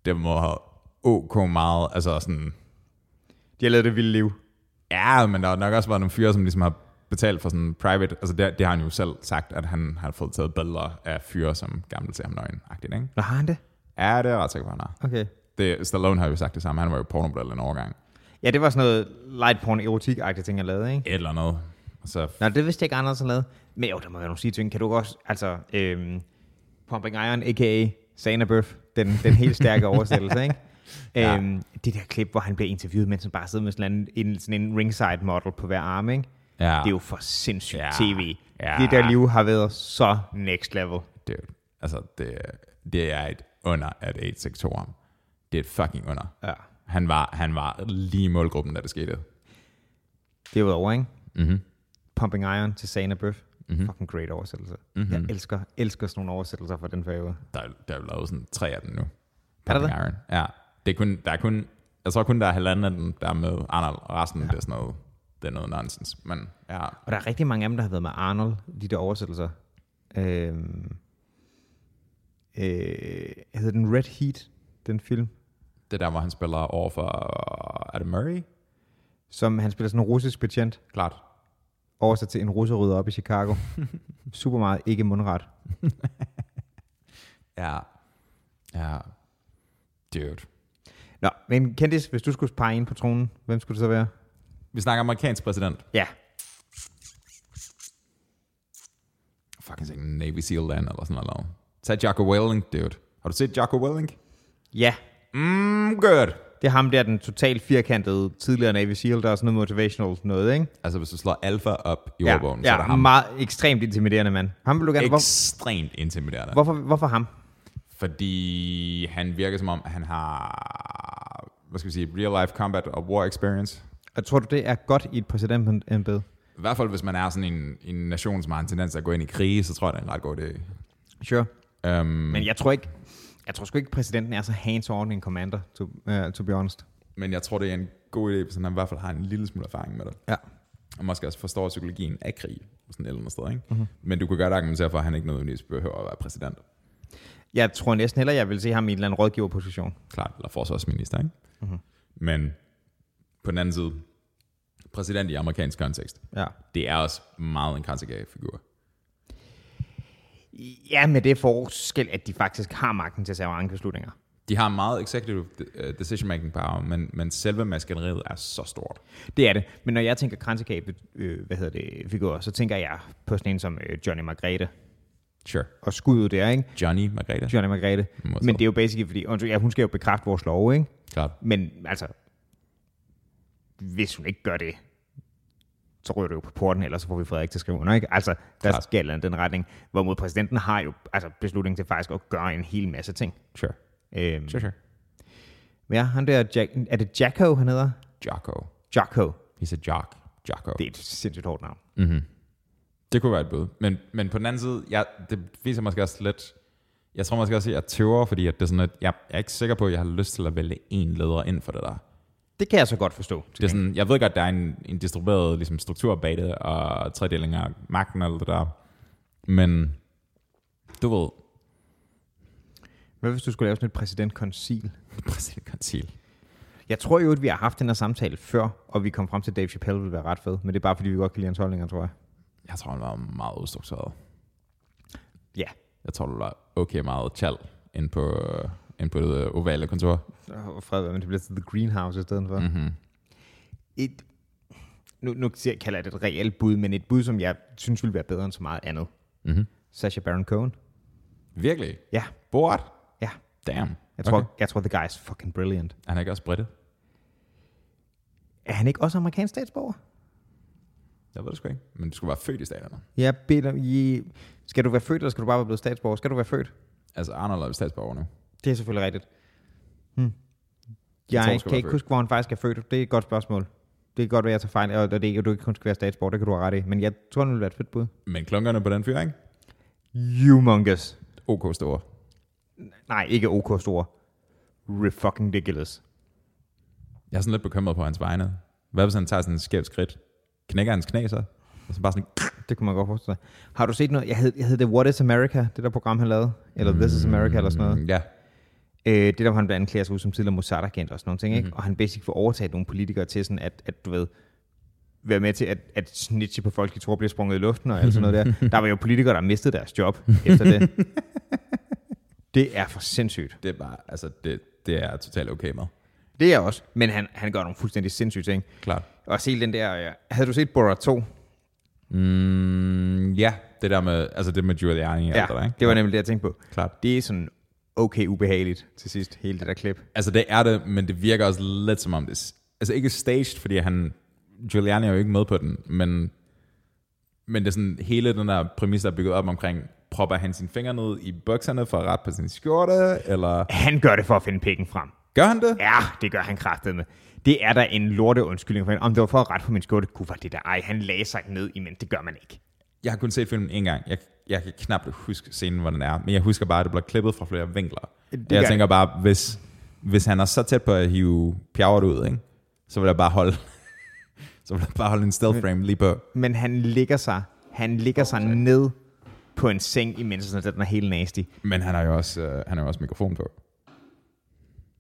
Speaker 1: Det må have ok meget, altså sådan,
Speaker 2: De har lavet det vilde liv.
Speaker 1: ja, men der har nok også været nogle fyre, som ligesom har betalt for sådan private, altså det, det har han jo selv sagt, at han har fået taget billeder af fyre, som gamle til ham nøgen, agtigt, ikke?
Speaker 2: Nå, har han det?
Speaker 1: Ja, det er jeg ret sikker på, han har.
Speaker 2: Okay.
Speaker 1: Det, Stallone har jo sagt det samme, han var jo pornomodel en overgang.
Speaker 2: Ja, det var sådan noget light porn erotik-agtigt ting, jeg lavede, ikke?
Speaker 1: Et eller andet. Og så
Speaker 2: Nå, det vidste jeg ikke, Anders har lavet. Men jo, der må være nogle sige ting. Kan du også, altså, øhm, Pumping Iron, a.k.a. Sana Bøf, den, den helt stærke oversættelse, ikke?
Speaker 1: Ja.
Speaker 2: Ja. Øhm, det der klip, hvor han bliver interviewet, mens han bare sidder med sådan en, en, sådan en ringside model på hver arm, ikke?
Speaker 1: Ja.
Speaker 2: Det er jo for sindssygt
Speaker 1: Ja.
Speaker 2: tv.
Speaker 1: Ja.
Speaker 2: Det der liv har været så next level.
Speaker 1: Dude, altså det, det er et under, at 8 sektoren. Det er et fucking under.
Speaker 2: Ja.
Speaker 1: Han var, han var lige i målgruppen, da det skete.
Speaker 2: Det var over, ikke?
Speaker 1: Mm-hmm.
Speaker 2: Pumping Iron til Sana Bøf.
Speaker 1: Mhm.
Speaker 2: Mm-hmm. Fucking great oversættelse. Mm-hmm. Jeg elsker, elsker sådan nogle oversættelser fra den periode.
Speaker 1: Der, er- der er jo lavet sådan tre af dem nu.
Speaker 2: Er der
Speaker 1: Pumping Iron. Ja. Det er kun, der er kun, jeg tror kun, der er halvanden af dem, der er med Arnold, og resten ja. det er sådan noget, det er noget nonsens. Men ja,
Speaker 2: Og der er rigtig mange af dem, der har været med Arnold, de der oversættelser. Øhm, øh, hedder den Red Heat, den film?
Speaker 1: det der, hvor han spiller over for, er det Murray?
Speaker 2: Som han spiller sådan en russisk betjent,
Speaker 1: Klart.
Speaker 2: oversat til en russerydder op i Chicago. Super meget ikke mundret.
Speaker 1: Ja. Ja. Dude.
Speaker 2: Nå, men Kendis, hvis du skulle pege ind på tronen, hvem skulle det så være?
Speaker 1: Vi snakker amerikansk præsident.
Speaker 2: Ja,
Speaker 1: fucking sådan en Navy SEAL land eller sådan noget. Tag Jocko Willink, dude. Har du set Jocko Willink?
Speaker 2: ja.
Speaker 1: Mm, good.
Speaker 2: Det er ham der, den totalt firkantede tidligere Navy SEAL, der er sådan noget motivational noget, ikke?
Speaker 1: Altså, hvis du slår alfa op i
Speaker 2: ja,
Speaker 1: ordbogen, så er
Speaker 2: ja Mm.
Speaker 1: det ham.
Speaker 2: meget ekstremt intimiderende mand. Ham vil du gerne... Hvor,
Speaker 1: Ekstremt intimiderende.
Speaker 2: hvorfor, hvorfor ham?
Speaker 1: Fordi han virker som om, han har, hvad skal vi sige, real life combat og war experience.
Speaker 2: Og tror du, det er godt i et præsidentembede?
Speaker 1: I hvert fald, hvis man er sådan en, en nation, som har en tendens til at gå ind i krige, så tror jeg, det er en ret god idé.
Speaker 2: Sure.
Speaker 1: Um,
Speaker 2: Men jeg tror ikke, jeg tror sgu ikke, præsidenten er så hands-on en commander, to, uh, to be honest.
Speaker 1: men jeg tror, det er en god idé, hvis han i hvert fald har en lille smule erfaring med det.
Speaker 2: Ja.
Speaker 1: og måske også forstår psykologien af krig, sådan et eller andet sted, ikke?
Speaker 2: Mhm.
Speaker 1: Mm-hmm. Men du kan godt argumentere for, at han ikke nødvendigvis behøver at være præsident,
Speaker 2: Jeg tror næsten heller, jeg vil se ham i en eller anden rådgiverposition.
Speaker 1: klart, eller forsvarsminister, ikke?
Speaker 2: Mhm.
Speaker 1: Mm-hmm. Men på den anden side, præsident i amerikansk kontekst,
Speaker 2: Ja.
Speaker 1: det er også meget en grænsegagefigur.
Speaker 2: Ja, med det forskel, at de faktisk har magten til at tage mange beslutninger.
Speaker 1: De har meget executive øh, decision-making power, men, men selve maskineriet er så stort.
Speaker 2: Det er det. Men når jeg tænker kransekage, øh, hvad hedder det, figurer, så tænker jeg på sådan en som øh, Johnny Margrethe.
Speaker 1: Sure.
Speaker 2: Og skuddet der, ikke?
Speaker 1: Johnny, Margrethe.
Speaker 2: Johnny Margrethe.
Speaker 1: Modtaget.
Speaker 2: Men det er jo basically, fordi undskyld, ja, hun skal jo bekræfte vores lov, ikke?
Speaker 1: Klart.
Speaker 2: Men altså, hvis hun ikke gør det, så ryger det jo på porten, ellers så får vi Frederik til at skrive under, ikke? Altså, der
Speaker 1: Klart.
Speaker 2: Klart. skal et eller andet i den retning. Hvorimod præsidenten har jo altså, beslutningen til faktisk at gøre en hel masse ting.
Speaker 1: Sure.
Speaker 2: Øhm,
Speaker 1: Sure, sure.
Speaker 2: ja, han der, Jack, er det Jacko, han hedder?
Speaker 1: Jocko.
Speaker 2: Jocko.
Speaker 1: He's a jock. Jocko.
Speaker 2: Det er et sindssygt hårdt navn.
Speaker 1: Det kunne være et bud. Men, men på den anden side, jeg, det viser måske også lidt... Jeg tror måske også, at jeg tøver, fordi at det er sådan, at jeg, jeg er ikke sikker på, at jeg har lyst til at vælge en leder ind for det der.
Speaker 2: Det kan jeg så godt forstå.
Speaker 1: Det er sådan, jeg ved godt, der er en, en distribueret ligesom, struktur bag det, og tredeling af magten og alt det der. Men du ved,
Speaker 2: Hvad hvis du skulle lave sådan et præsidentkoncil?
Speaker 1: præsidentkonsil.
Speaker 2: Jeg tror jo, at vi har haft den her samtale før, og vi kom frem til, at Dave Chappelle ville være ret fed. Men det er bare, fordi vi godt kan lide hans holdninger, tror jeg.
Speaker 1: Jeg tror, han var meget ustruktureret.
Speaker 2: Ja.
Speaker 1: Jeg tror, du var okay meget chal ind på, øh, ind på det ovale kontor.
Speaker 2: Og fred, være, men det bliver til The Greenhouse i stedet for.
Speaker 1: Mm-hmm.
Speaker 2: Et, nu, nu siger- kalder jeg det et reelt bud, men et bud, som jeg synes ville være bedre end så meget andet.
Speaker 1: Mm-hmm.
Speaker 2: Sacha Baron Cohen.
Speaker 1: Virkelig?
Speaker 2: Ja,
Speaker 1: Borat?
Speaker 2: ja.
Speaker 1: Damn.
Speaker 2: Jeg tror,
Speaker 1: Okay.
Speaker 2: okay. jeg tror the guy is fucking brilliant.
Speaker 1: Han er ikke også britte?
Speaker 2: Er han ikke også amerikansk statsborger?
Speaker 1: Jeg ved det sgu ikke. Men du skulle være født i staterne.
Speaker 2: Jeg beder i... Skal du være født, eller skal du bare være blevet statsborger? Skal du være født?
Speaker 1: Altså, Arnold er jo statsborger nu.
Speaker 2: Det er selvfølgelig rigtigt. Hmm.
Speaker 1: tror,
Speaker 2: Jeg
Speaker 1: du
Speaker 2: tror,
Speaker 1: skal
Speaker 2: kan
Speaker 1: være
Speaker 2: ikke
Speaker 1: født.
Speaker 2: huske, hvor han faktisk er født. Det er et godt spørgsmål. Det kan godt være, jeg tager fejl, og og det er ikke, at du ikke kun skal være statsborger, det kan du have ret i. Men jeg tror, det ville være et fedt bud.
Speaker 1: Men klunkerne på den fyr, ikke?
Speaker 2: Humongous.
Speaker 1: OK store.
Speaker 2: Nej, ikke OK store. Refucking ridiculous.
Speaker 1: Jeg er sådan lidt bekymret på hans vegne. Hvad hvis han tager sådan en skævt skridt? Knækker hans knæ så? Og så bare sådan...
Speaker 2: Det kunne man godt forestille sig. Har du set noget? Jeg hed, jeg hed det What is America, det der program, han lavede. Eller This is America, eller sådan noget.
Speaker 1: Mm, Mm-hmm. Ja.
Speaker 2: Øh, det der, hvor han blandt andet klæder sig ud som tidligere Mossad-agent og sådan nogle ting, ikke? Og han basic får overtaget nogle politikere til sådan, at, at du ved, være med til at, at snitche på folk, de tror bliver sprunget i luften og alt sådan noget der. Der var jo politikere, der mistede deres job efter det. Det er for sindssygt.
Speaker 1: Det er bare... Altså, det, det er jeg totalt okay med.
Speaker 2: Det er jeg også. Men han, han gør nogle fuldstændig sindssyge ting.
Speaker 1: Klart.
Speaker 2: Og se den der... Ja. Havde du set Borat 2?
Speaker 1: Mm, ja, det der med... Altså, det med Giuliani og alt det der, ikke?
Speaker 2: det var nemlig det, jeg tænkte på.
Speaker 1: Klart.
Speaker 2: Det er sådan okay ubehageligt til sidst, hele det der klip.
Speaker 1: Altså, det er det, men det virker også lidt som om det... Altså, ikke staged, fordi han... Giuliani er jo ikke med på den, men... Men det er sådan, hele den der præmis, der er bygget op omkring, propper han sine fingre ned i bukserne for at rette på sin skjorte, eller...
Speaker 2: Han gør det for at finde pikken frem.
Speaker 1: Gør han det?
Speaker 2: Ja, det gør han kraftedeme. Det er da en lorte undskyldning for hende. Om det var for at rette på min skjorte, kunne var det der. Ej, han lagde sig ned imens. Det gør man ikke.
Speaker 1: Jeg har kun set filmen en gang. Jeg, jeg kan knap huske scenen, hvor den er. Men jeg husker bare, at det bliver klippet fra flere vinkler.
Speaker 2: Det
Speaker 1: Det jeg
Speaker 2: gør
Speaker 1: tænker bare, hvis, hvis han er så tæt på at hive pjavret ud, ikke? så vil jeg bare holde... så vil jeg bare holde en stealth frame lige på.
Speaker 2: Men han ligger sig, han ligger sig ned på en seng imens, sådan at den er helt nasty.
Speaker 1: Men han har jo også, øh, han har jo også mikrofon på.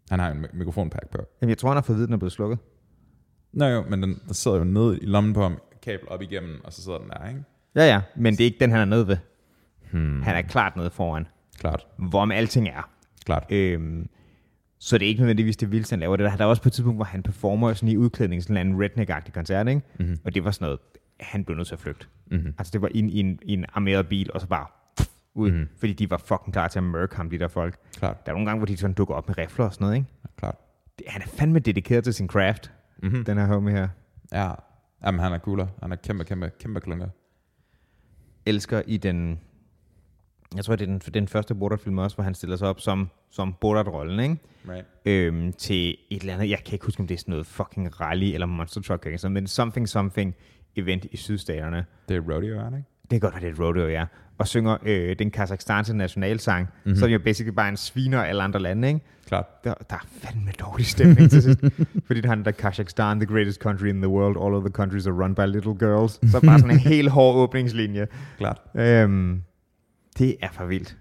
Speaker 1: Han har jo en mi- mikrofonpakke på.
Speaker 2: Jamen, jeg tror, han har fået viden, den er blevet slukket.
Speaker 1: Nå jo, men den, der sidder jo nede i lommen på ham, kabel op igennem, og så sidder den der, ikke?
Speaker 2: Ja, ja, men det er ikke den, han er nede ved. Hmm. Han er klart nede foran,
Speaker 1: Klart,
Speaker 2: hvorom alting er.
Speaker 1: klart.
Speaker 2: Øhm, så det er ikke nødvendigvis det vildeste, han laver. Det der, der er også på et tidspunkt, hvor han performer sådan i udklædning, sådan en eller anden redneck-agtig koncert, ikke? Mm-hmm.
Speaker 1: Mhm,
Speaker 2: og det var sådan noget, han blev nødt til at flygte.
Speaker 1: Mm-hmm.
Speaker 2: Altså det var i en, i en, i en armeret bil, og så bare pff, ud, mm. fordi de var fucking klar til at mørke ham, de der folk.
Speaker 1: Klart,
Speaker 2: Der er nogle gange, hvor de sådan dukker op med rifler og sådan noget, ikke?
Speaker 1: klart. Mhm.
Speaker 2: Det, han er fandme dedikeret til sin craft,
Speaker 1: Mm.
Speaker 2: mm-hmm. den her homie her.
Speaker 1: Ja, jamen han er cooler. Han er kæmpe, kæmpe, kæmpe klunker.
Speaker 2: Elsker i den, jeg tror det er den, den første Borat-film også, hvor han stiller sig op som, som Borat-rollen, ikke?
Speaker 1: Right.
Speaker 2: Øhm, til et eller andet, jeg kan ikke huske, om det er sådan noget fucking rally eller monster truck, eller sådan, noget, men something something event i sydstaterne.
Speaker 1: Det er rodeo, er han ikke?
Speaker 2: Det kan godt være, det er et rodeo, ja. Og synger øh, den kazakhstanske nationalsang, mm-hmm. som jo basically bare er en sviner af alle andre lande, ikke?
Speaker 1: Klart.
Speaker 2: Der, der er fandme dårlig stemning til sidst. Fordi der er den der Kazakhstan, the greatest country in the world, all of the countries are run by little girls. Så bare sådan en helt hård åbningslinje.
Speaker 1: Klart.
Speaker 2: Øhm, det er for vildt.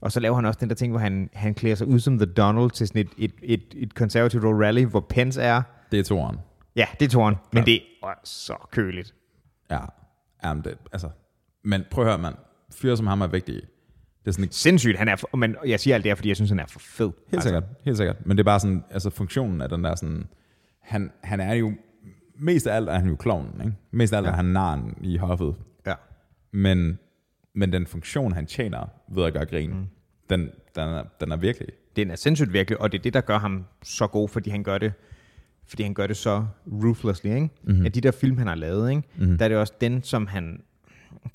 Speaker 2: Og så laver han også den der ting, hvor han, han klæder sig ud som The Donald til sådan et, et, et, et konservativt rally, hvor Pence er.
Speaker 1: Det er toeren.
Speaker 2: Ja, det er toren, men
Speaker 1: Ja.
Speaker 2: det er åh, så køligt.
Speaker 1: Ja. Jamen, det, altså. Men prøv at høre, mand. Fyre som ham er vigtige. Det er sådan ikke...
Speaker 2: Sindssygt, han er for, men jeg siger alt det her, fordi jeg synes, han er for fed.
Speaker 1: Helt sikkert, helt sikkert. Altså- Men det er bare sådan, altså funktionen af den der sådan... Han, han er jo... Mest af alt er han jo klovnen, ikke? Mest af alt ja. er han naren i hoffet.
Speaker 2: Altså, Ja.
Speaker 1: Men, men den funktion, han tjener ved at gøre grin, mm. den, den, er, den er virkelig.
Speaker 2: Den er sindssygt virkelig, og det er det, der gør ham så god, fordi han gør det, fordi han gør det så ruthlessly, ikke? Mm-hmm. At de der film, han har lavet, ikke? Mm-hmm. Der er det også den, som han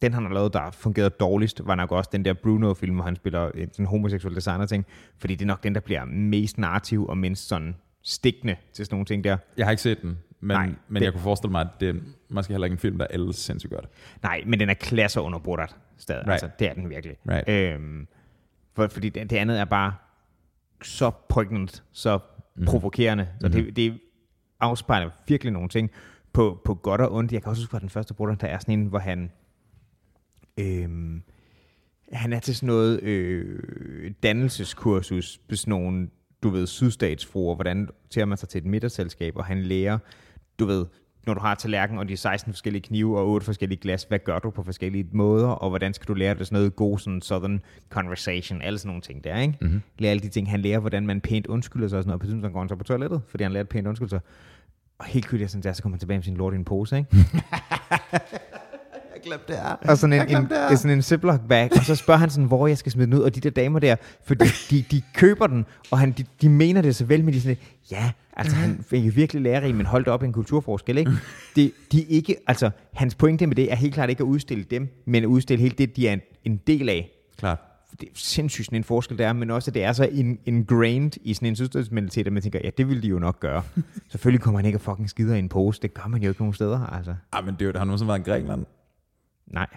Speaker 2: den han har lavet, der fungerede dårligst, var nok også den der Bruno-film, hvor han spiller øh, sådan en homoseksuel designer-ting, fordi det er nok den, der bliver mest narrativ og mindst sådan stikkende til sådan nogle ting der.
Speaker 1: Jeg har ikke set den, men,
Speaker 2: Nej,
Speaker 1: Nej, men
Speaker 2: det-
Speaker 1: jeg kunne forestille mig, at det er måske heller ikke en film, der ældes sindssygt godt.
Speaker 2: Nej, men den er klasser under Borat stadig. Right. Altså, det er den virkelig.
Speaker 1: Right.
Speaker 2: Øhm, for, fordi det, det andet er bare så poignant, så mm. provokerende. Så mm-hmm. det, det afspejler virkelig nogle ting på, på godt og ondt. Jeg kan også huske fra den første Borat, der er sådan en, hvor han... Øhm, han er til sådan noget øh, dannelseskursus på sådan nogle, du ved, sydstatsfruer, hvordan tager man sig til et middagsselskab, og han lærer, du ved, når du har tallerken og de 16 forskellige knive og 8 forskellige glas, hvad gør du på forskellige måder, og hvordan skal du lære det sådan noget god sådan southern conversation, alle sådan nogle ting der, ikke? Mm-hmm. Lærer alle de ting. Han lærer, hvordan man pænt undskylder sig og sådan noget, og på tidspunkt går han så på toilettet, fordi han lærte pænt undskylde sig. Og helt kødt, jeg sådan der, så kommer han tilbage med sin lort i en pose, ikke?
Speaker 1: Jeg glemte det her.
Speaker 2: Og sådan
Speaker 1: Jeg
Speaker 2: en, en,
Speaker 1: glemte det
Speaker 2: en,
Speaker 1: her.
Speaker 2: sådan en Ziploc bag, og så spørger han sådan, hvor jeg skal smide den ud, og de der damer der, fordi de, de køber den, og han, de, de mener det så vel, men de er sådan, lidt, ja, altså
Speaker 1: Mhm.
Speaker 2: han er jo virkelig lærerig, men holdt op en kulturforskel, ikke? Det, de er ikke, altså, hans pointe med det er helt klart ikke at udstille dem, men at udstille hele det, de er en, en del af.
Speaker 1: Klart.
Speaker 2: For Det er sindssygt sådan en forskel, der er, men også, at det er så in, ingrained i sådan en søstermentalitet, at man tænker, ja, det ville de jo nok gøre. Selvfølgelig kommer han ikke og fucking skider i en pose, det gør man jo ikke nogen steder, altså.
Speaker 1: Ej, men det er jo, der har nogensinde været i Grækenland.
Speaker 2: Nej,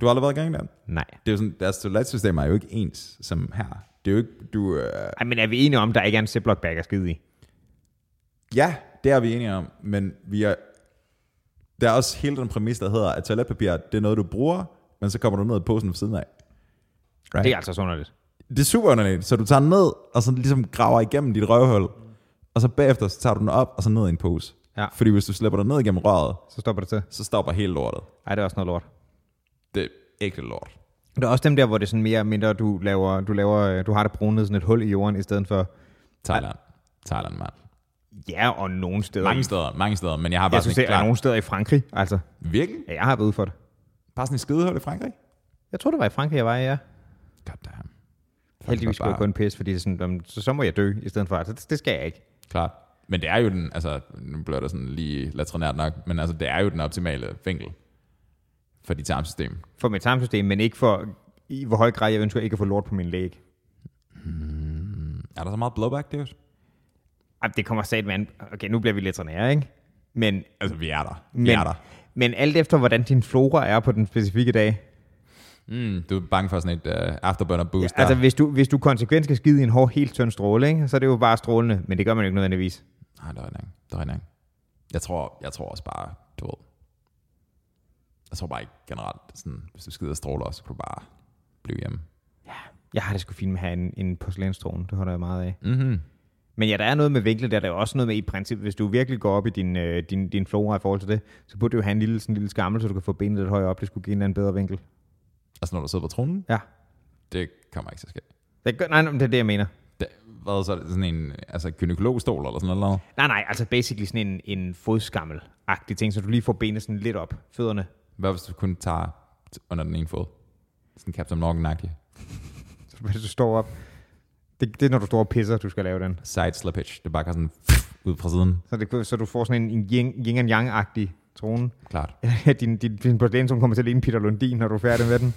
Speaker 1: Du har aldrig været i Grækenland.
Speaker 2: nej.
Speaker 1: Det er jo sådan, deres toiletsystem er jo ikke ens som her. Det er jo ikke, du... Øh...
Speaker 2: Ej, men er vi enige om, der ikke er en Ziploc bag at skide i?
Speaker 1: Ja, det er vi enige om, men vi er... Der er også hele den præmis, der hedder, at toiletpapir, det er noget, du bruger, men så kommer du ned i posen ved siden af. Right?
Speaker 2: Det er altså sådan noget.
Speaker 1: det er super underligt. Så du tager den ned, og så ligesom graver igennem dit røvhul, og så bagefter så tager du den op, og så ned i en pose.
Speaker 2: Ja.
Speaker 1: Fordi hvis du slipper den ned igennem røret,
Speaker 2: Så stopper det til.
Speaker 1: så stopper hele lortet.
Speaker 2: Ej, det er også noget lort.
Speaker 1: Det er ægte lort.
Speaker 2: Der er også dem der, hvor det er sådan mere eller mindre, du laver, du laver, øh, du har det brunet sådan et hul i jorden, i stedet for,
Speaker 1: Thailand. Thailand, mand.
Speaker 2: ja, og nogle steder.
Speaker 1: Mange steder, mange steder, men jeg har bare
Speaker 2: jeg synes,
Speaker 1: sådan
Speaker 2: det
Speaker 1: et
Speaker 2: er
Speaker 1: klart...
Speaker 2: nogle steder i Frankrig, altså.
Speaker 1: Virkelig?
Speaker 2: Ja, jeg har været ude for det.
Speaker 1: Bare sådan et skidehul i Frankrig?
Speaker 2: Jeg tror, det var i Frankrig, jeg var i, ja.
Speaker 1: God damn.
Speaker 2: Heldigvis
Speaker 1: var
Speaker 2: skulle jeg
Speaker 1: bare-
Speaker 2: kun pisse, fordi det er sådan, om, så, så må jeg dø i stedet for, altså, det, det skal jeg ikke.
Speaker 1: Klart. Men det er jo den, altså, nu bliver det sådan lige latrinært nok, men altså, det er jo den optimale vinkel for dit tarmsystem.
Speaker 2: For mit tarmsystem, men ikke for, i hvor høj grad jeg ønsker ikke at få lort på min læg.
Speaker 1: Er der så meget blowback, det
Speaker 2: Ej, det kommer sat med an- Okay, nu bliver vi lidt nære, ikke? Men
Speaker 1: Altså, vi er der. Vi
Speaker 2: Men,
Speaker 1: er der.
Speaker 2: men alt efter, hvordan din flora er på den specifikke dag.
Speaker 1: Mm, du er bange for sådan et uh, afterburner
Speaker 2: Ja,
Speaker 1: boost ja,
Speaker 2: altså,
Speaker 1: altså,
Speaker 2: hvis du, hvis du konsekvent skal skide i en hård, helt tynd stråle, ikke? så er det jo bare strålende, men det gør man jo ikke nødvendigvis.
Speaker 1: Nej, det er rigtig nok. Det er rigtig nok. Jeg tror, jeg tror også bare, du ved. Jeg tror bare ikke generelt, sådan, hvis du skider og stråler, så kan du bare blive hjemme.
Speaker 2: Jeg har det sgu fint med at have en, en porcelænstråle, det holder jeg meget af.
Speaker 1: Mm-hmm.
Speaker 2: Men ja, der er noget med vinklet, der er der jo også noget med i princippet, hvis du virkelig går op i din, øh, din, din flora i forhold til det, så burde du jo have en lille, sådan en lille skammel, så du kan få benet lidt højere op, det skulle give en eller anden bedre vinkel.
Speaker 1: Altså, når du sidder på tronen,
Speaker 2: Ja,
Speaker 1: det kommer ikke til at ske.
Speaker 2: det gør, nej, nej, men det er det, jeg mener.
Speaker 1: Det, hvad så er det sådan en altså, gynekologstol eller sådan noget?
Speaker 2: Nej, nej, altså basically sådan en, en fodskammel-agtig ting, så du lige får benet sådan lidt op, fødderne.
Speaker 1: Hvad hvis du kun tager t- under den ene fod? Sådan Captain Morgan-agtig.
Speaker 2: Så hvis du står op, det, det er når du står og pisser, du skal lave den.
Speaker 1: Side slippage. Det bare kan sådan ud fra siden.
Speaker 2: Så, det, så du får sådan en, en yin, yin and yang-agtig trone.
Speaker 1: Klart.
Speaker 2: Ja, din, din, din porcelænstone kommer til at ligne Peter Lundin, når du er færdig med den.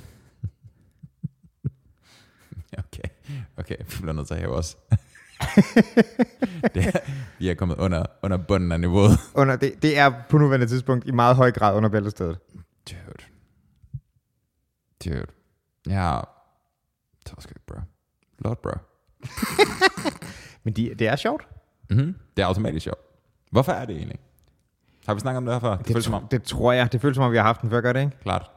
Speaker 1: Okay, okay, vi bliver nødt til at hæve os. det er, vi er kommet under, under bunden af niveauet.
Speaker 2: Under, det, det er på nuværende tidspunkt i meget høj grad under bæltestedet.
Speaker 1: Dude. Dude. Jeg har... Tosk, bro. Lord, bro.
Speaker 2: Men de, det er sjovt.
Speaker 1: Mm-hmm. Det er automatisk sjovt. Hvorfor er det egentlig? Har vi snakket om det her før? Det, det føles som om.
Speaker 2: det tror jeg. Det føles som om, vi har haft den før, gør det ikke?
Speaker 1: Klart.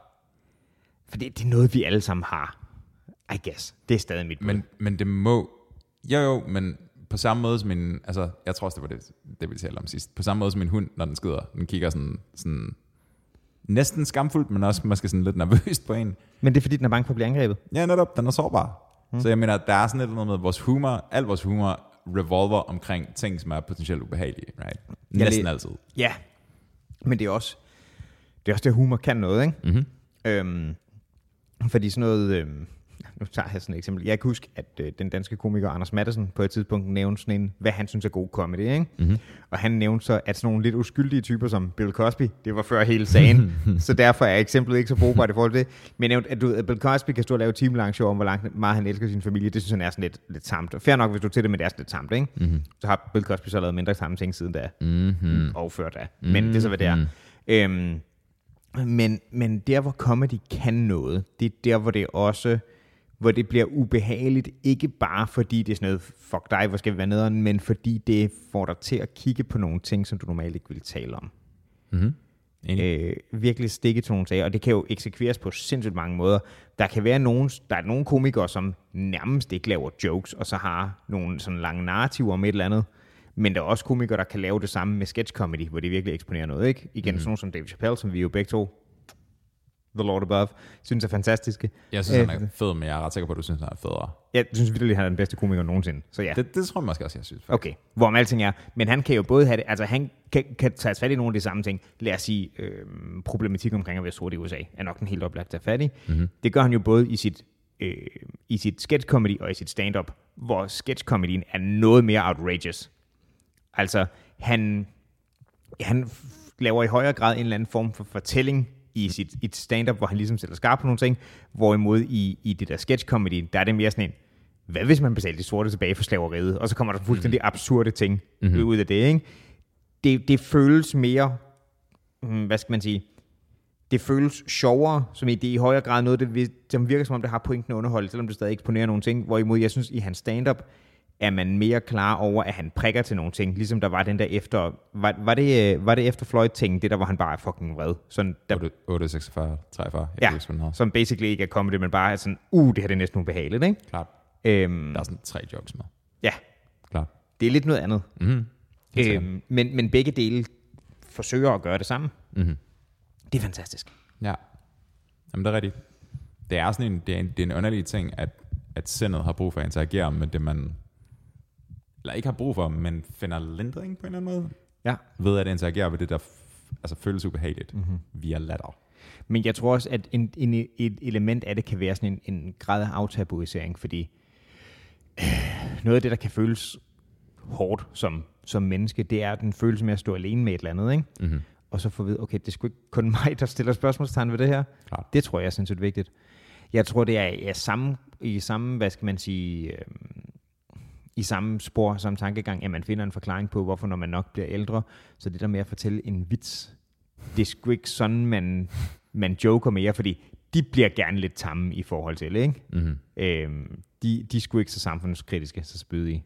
Speaker 2: For det, det er noget, vi alle sammen har. I guess. Det er stadig mit bud.
Speaker 1: Men, men det må... Jo, jo, men på samme måde som min... Altså, jeg tror også, det var det, det vi talte om sidst. På samme måde som min hund, når den skider. Den kigger sådan, sådan næsten skamfuldt, men også måske sådan lidt nervøst på en.
Speaker 2: Men det er fordi, den er bange for at blive angrebet.
Speaker 1: Ja, netop. Den er sårbar. Mm. Så jeg mener, der er sådan et eller andet med vores humor, al vores humor revolver omkring ting, som er potentielt ubehagelige, right? Næsten
Speaker 2: læ-
Speaker 1: altid.
Speaker 2: Ja. Men det er også det, er også det humor kan noget, ikke?
Speaker 1: Mm-hmm.
Speaker 2: Øhm, fordi sådan noget... Øhm, nu tager jeg sådan et eksempel. Jeg kan huske, at øh, den danske komiker Anders Madsen på et tidspunkt nævnte sådan en, hvad han synes er god comedy, ikke? Mm-hmm. Og han nævnte så, at sådan nogle lidt uskyldige typer som Bill Cosby, det var før hele sagen, så derfor er eksemplet ikke så brugbart i forhold til det. Men jeg nævnte, at, du, ved, at Bill Cosby kan stå og lave et timelang show om, hvor langt, meget han elsker sin familie, det synes han er sådan lidt, lidt tamt. Og fair nok, hvis du er til det, men det er sådan lidt tamt, ikke? Mm-hmm. Så har Bill Cosby så lavet mindre tamme ting siden da, mm-hmm. og før da. Men mm-hmm. det er så, hvad det er. Øhm, men, men der, hvor comedy kan noget, det er der, hvor det også hvor det bliver ubehageligt, ikke bare fordi det er sådan noget, fuck dig, hvor skal vi være nederen, men fordi det får dig til at kigge på nogle ting, som du normalt ikke ville tale om.
Speaker 1: Mm-hmm. Enig.
Speaker 2: Øh, virkelig stikke til nogle sager, og det kan jo eksekveres på sindssygt mange måder. Der kan være nogen, der er nogle komikere, som nærmest ikke laver jokes, og så har nogle sådan lange narrativer om et eller andet. Men der er også komikere, der kan lave det samme med sketch comedy, hvor de virkelig eksponerer noget, ikke? Igen, mm. sådan nogen som Dave Chappelle, som vi jo begge to, The Lord Above, synes er fantastiske. Øh,
Speaker 1: Jeg synes, han er fed, men jeg er ret sikker på, at du synes, han er federe.
Speaker 2: Jeg synes virkelig, han er den bedste komiker nogensinde. Så ja.
Speaker 1: Det, det tror jeg måske også, jeg synes.
Speaker 2: Okay, hvorom alting er. Men han kan jo både have det, altså han kan, kan tage fat i nogle af de samme ting. Lad os sige, øh, problematik omkring at være sort i USA er nok den helt oplagt at tage fat i. Mm-hmm. Det gør han jo både i sit, øh, i sit sketch comedy og i sit stand-up, hvor sketch comedyen er noget mere outrageous. Altså, han, han f- laver i højere grad en eller anden form for fortælling i sit i et stand-up, hvor han ligesom sætter skarp på nogle ting, hvorimod i, i det der sketch comedy, der er det mere sådan en, hvad hvis man betalte de sorte tilbage for slaveriet, og så kommer der fuldstændig absurde ting mm-hmm. ud af det, ikke? Det, det føles mere, hmm, hvad skal man sige, det føles sjovere, som i det er i højere grad noget, det, vi- som virker som om, det har pointen at underholde, selvom det stadig eksponerer nogle ting. Hvorimod jeg synes, i hans stand-up er man mere klar over, at han prikker til nogle ting. Ligesom der var den der efter... Var, var, det, øh, var det efter Floyd-ting, det der, hvor han bare er fucking vred? Sådan, der,
Speaker 1: 8, 8 46, 43. Jeg
Speaker 2: ja,
Speaker 1: kan huske, hvad den hedder.
Speaker 2: som basically ikke er comedy, men bare er sådan, uh, det her det er næsten ubehageligt, ikke?
Speaker 1: Klart.
Speaker 2: Øhm,
Speaker 1: Der er sådan tre jokes med.
Speaker 2: ja,
Speaker 1: Klart.
Speaker 2: det er lidt noget andet.
Speaker 1: Mm-hmm.
Speaker 2: Øhm, men, men begge dele forsøger at gøre det samme. Mm-hmm. Det er fantastisk.
Speaker 1: Ja. Jamen, det er rigtigt. Det er sådan en, det er en, det er en underlig ting, at, at sindet har brug for at interagere med det, man... Eller ikke har brug for, men finder lindring på en eller anden måde.
Speaker 2: Ja.
Speaker 1: Ved at interagere med det, der f- altså, føles ubehageligt mm-hmm. via latter.
Speaker 2: Men jeg tror også, at en, en, et element af det kan være sådan en, en grad af aftabuisering, fordi øh, noget af det, der kan føles hårdt som, som menneske, det er den følelse med at stå alene med et eller andet, ikke? Mm-hmm. Og så få at vide, okay, det er sgu ikke kun mig, der stiller spørgsmålstegn ved det her.
Speaker 1: Klart.
Speaker 2: Det tror jeg er sindssygt vigtigt. Jeg tror, det er, er samme, i samme, hvad skal man sige, øh, i samme spor, samme tankegang, at man finder en forklaring på, hvorfor når man nok bliver ældre, så det der med at fortælle en vits, det er sgu ikke sådan, man, man joker mere, fordi de bliver gerne lidt tamme i forhold til, ikke? Mm-hmm. Øhm, de, de er sgu ikke så samfundskritiske, så spydige.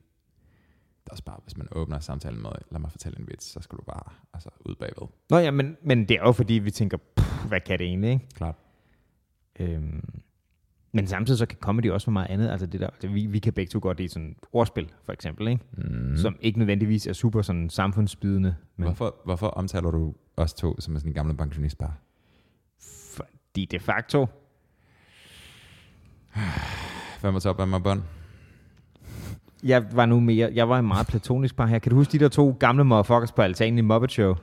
Speaker 1: Det er også bare, hvis man åbner samtalen med, lad mig fortælle en vits, så skal du bare altså, ud bagved.
Speaker 2: Nå ja, men, men det er jo fordi, vi tænker, "Puh, hvad kan det egentlig, ikke?
Speaker 1: Klart.
Speaker 2: Øhm, men samtidig så kan comedy også være meget andet. Altså det der, altså vi, vi kan begge to godt lide sådan ordspil, for eksempel, ikke?
Speaker 1: Mhm.
Speaker 2: Mm. som ikke nødvendigvis er super sådan samfundsbydende. Men
Speaker 1: Hvorfor, hvorfor omtaler du os to som sådan en gamle pensionistpar?
Speaker 2: fordi de facto,
Speaker 1: 5 top af mig bånd.
Speaker 2: jeg var nu mere, jeg var en meget platonisk par her. Kan du huske de der to gamle motherfuckers på altanen i Muppet Show?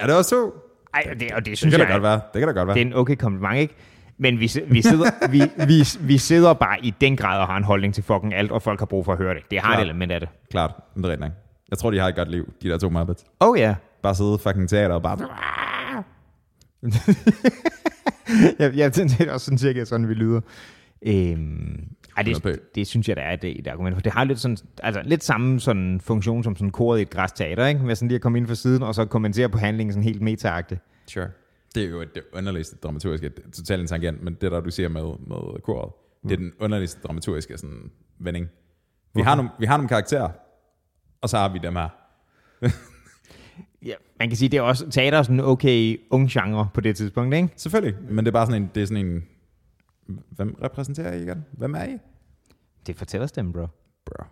Speaker 1: Er det også to?
Speaker 2: Ej, og det, og det
Speaker 1: Det
Speaker 2: synes
Speaker 1: kan da
Speaker 2: jeg,
Speaker 1: godt være. Det kan da godt være.
Speaker 2: det er en okay kompliment, ikke? Men vi, si- vi, sidder, vi, vi, vi sidder bare i den grad og har en holdning til fucking alt, og folk har brug for at høre det. Det har et
Speaker 1: Klart.
Speaker 2: element af det.
Speaker 1: Klart, men det er rigtigt nok. Jeg tror, de har et godt liv, de der to Muppets.
Speaker 2: Oh ja. Yeah.
Speaker 1: Bare sidde i fucking teater og bare...
Speaker 2: Jeg, jeg er sådan set også sådan cirka sådan, vi lyder. Øhm, ej,
Speaker 1: Eller bag.
Speaker 2: det, det, synes jeg, der er et, et argument. For det har lidt, sådan, altså, lidt samme sådan funktion som sådan koret i et græsteater, ikke? Med sådan lige at komme ind fra siden, og så kommentere på handlingen sådan helt metaagtigt.
Speaker 1: Sure. Det er jo det underligste dramaturgiske, det er totalt en tangent, men det der, du siger med, med koret, det er den underligste dramaturgiske sådan, vending. Vi har, nogle, vi har nogle karakterer, og så har vi dem her.
Speaker 2: Ja, man kan sige, det er også teater er sådan en okay ung genre på det tidspunkt, ikke?
Speaker 1: Selvfølgelig, men det er bare sådan en... Det er sådan en hvem repræsenterer I igen? Hvem er I?
Speaker 2: Det fortæller stemmen, bro.
Speaker 1: Bro.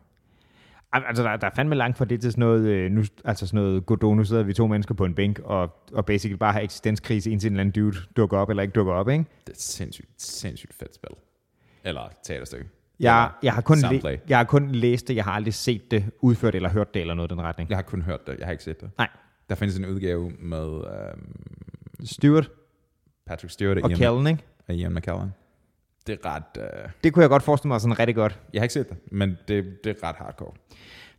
Speaker 2: Al- Altså, der, der er fandme langt fra det til sådan noget, øh, nu, altså sådan noget Godot, nu sidder vi to mennesker på en bænk, og, og basically bare har eksistenskrise, indtil en eller anden dude dukker op eller ikke dukker op, ikke?
Speaker 1: Det er et sindssygt, sindssygt fedt spil. Eller teaterstykke.
Speaker 2: Jeg, jeg, har kun
Speaker 1: Soundplay.
Speaker 2: læ- jeg har kun læst det, jeg har aldrig set det udført eller hørt det eller noget i den retning. Ja.
Speaker 1: Jeg har kun hørt det, jeg har ikke set det.
Speaker 2: Nej,
Speaker 1: Der findes en udgave med øhm,
Speaker 2: Stewart
Speaker 1: Patrick Stewart
Speaker 2: og
Speaker 1: Ian-
Speaker 2: Kellen, ikke?
Speaker 1: af Ian McKellen. Det er ret... Øh,
Speaker 2: Det kunne jeg godt forestille mig sådan rigtig godt.
Speaker 1: jeg har ikke set det, men det, det er ret hardcore.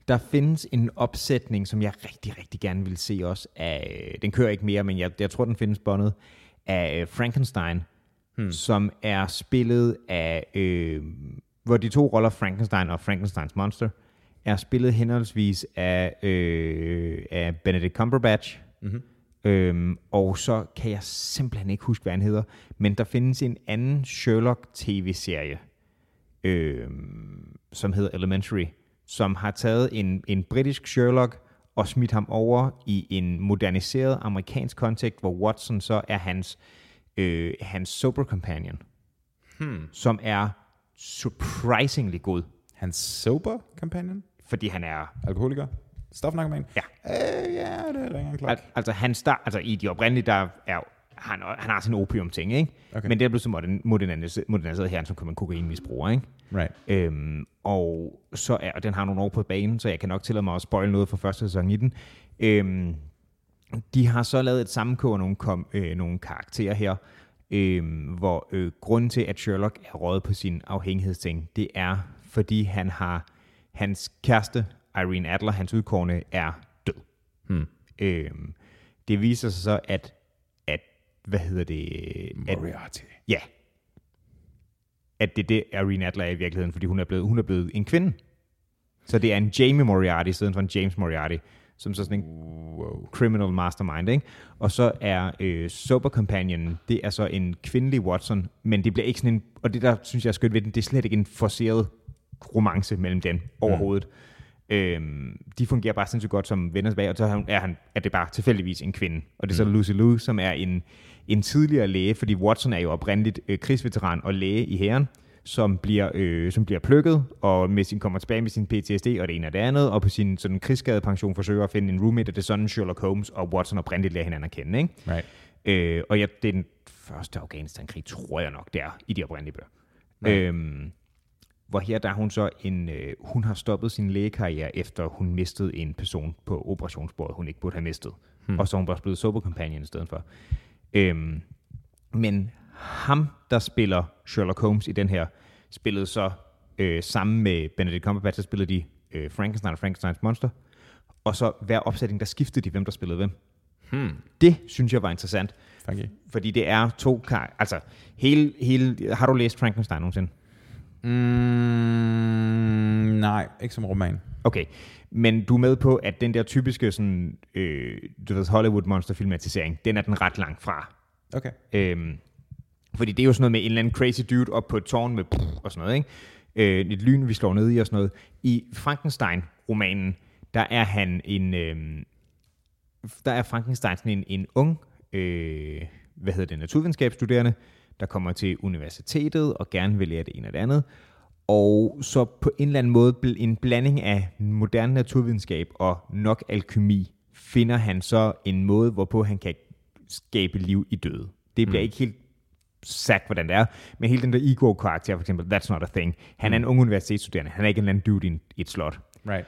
Speaker 2: Der findes en opsætning, som jeg rigtig, rigtig gerne vil se også. Af, den kører ikke mere, men jeg, jeg tror, den findes båndet. Af øh, Frankenstein, hmm. som er spillet af... Øh, hvor de to roller, Frankenstein og Frankensteins Monster, er spillet henholdsvis af, øh, af Benedict Cumberbatch, mm-hmm. øhm, og så kan jeg simpelthen ikke huske, hvad han hedder, men der findes en anden Sherlock-tv-serie, øhm, øh, som hedder Elementary, som har taget en, en britisk Sherlock og smidt ham over i en moderniseret amerikansk kontekst, hvor Watson så er hans, øh, hans sober companion, hmm. som er surprisingly god,
Speaker 1: Hans sober companion?
Speaker 2: fordi han er
Speaker 1: Alkoholiker? Stofnarkoman?
Speaker 2: Ja.
Speaker 1: Øh, ja, det ringer en klok.
Speaker 2: Al- altså, han start, altså i de oprindelige, der er han, han har sin opium-ting, ikke?
Speaker 1: Okay.
Speaker 2: Men det er blevet så modern- moderniseret moderniseret her, som kan man kokainmisbruger, ikke?
Speaker 1: Right.
Speaker 2: Øhm, og, så er, og den har nogle år på banen, så jeg kan nok tillade mig at spoil noget fra første sæson i den. Øhm, de har så lavet et sammenkog af nogle, kom, øh, nogle karakterer her, øhm, hvor øh, grunden til, at Sherlock er røget på sin afhængighedsting, det er, fordi han har hans kæreste, Irene Adler, hans udkårende, er død.
Speaker 1: Hmm.
Speaker 2: Øhm, det viser sig så, at, at hvad hedder det? At,
Speaker 1: Moriarty.
Speaker 2: Ja. At det er det, Irene Adler er i virkeligheden, fordi hun er blevet, hun er blevet en kvinde. Så det er en Jamie Moriarty, i stedet for en James Moriarty, som så sådan en wow. criminal mastermind, ikke? Og så er øh, Sober Companion, det er så en kvindelig Watson, men det bliver ikke sådan en, og det der synes jeg er skønt ved den, det er slet ikke en forceret romance mellem dem overhovedet. Mm. Øhm, de fungerer bare sindssygt godt som venner tilbage, og så er han, er, han, er det bare tilfældigvis en kvinde. Og det er så Lucy Liu, som er en, en tidligere læge, fordi Watson er jo oprindeligt øh, krigsveteran og læge i hæren, som bliver, øh, som bliver plukket, og med sin, kommer tilbage med sin PTSD og det ene og det andet, og på sin sådan, krigsskadepension forsøger at finde en roommate, og det er sådan Sherlock Holmes og Watson oprindeligt lærer hinanden at kende. Ikke?
Speaker 1: Right.
Speaker 2: Øh, og jeg, det er den første Afghanistan-krig, tror jeg nok, det er i de oprindelige bøger. Øhm, hvor her der er hun så en, øh, hun har stoppet sin lægekarriere, efter hun mistede en person på operationsbordet, hun ikke burde have mistet. Hmm. Og så er hun bare blevet soberkompagnon i stedet for. Øhm, men ham, der spiller Sherlock Holmes i den her, spillede så øh, sammen med Benedict Cumberbatch, så spillede de øh, Frankenstein og Frankensteins Monster. Og så hver opsætning, der skiftede de, hvem der spillede hvem. Hmm. Det synes jeg var interessant,
Speaker 1: Funky.
Speaker 2: fordi det er to kar... Altså, hele, hele... Har du læst Frankenstein nogensinde?
Speaker 1: Mm, nej, ikke som roman.
Speaker 2: Okay, men du er med på, at den der typiske sådan, øh, du ved, Hollywood monsterfilmatisering, den er den ret langt fra.
Speaker 1: Okay.
Speaker 2: Øhm, fordi det er jo sådan noget med en eller anden crazy dude op på et tårn med pff, og sådan noget, ikke? Øh, et lyn, vi slår ned i og sådan noget. I Frankenstein-romanen, der er han en... Øhm, der er Frankenstein sådan en, en ung, øh, hvad hedder det, naturvidenskabsstuderende, der kommer til universitetet og gerne vil lære det ene og det andet. Og så på en eller anden måde bl- en blanding af moderne naturvidenskab og nok alkemi, finder han så en måde, hvorpå han kan skabe liv i døde. Det bliver mm. ikke helt sagt, hvordan det er, men hele den der ego-karakter, for eksempel, that's not a thing. Han er en ung universitetsstuderende, han er ikke en eller anden dude i en- i et slot.
Speaker 1: Right.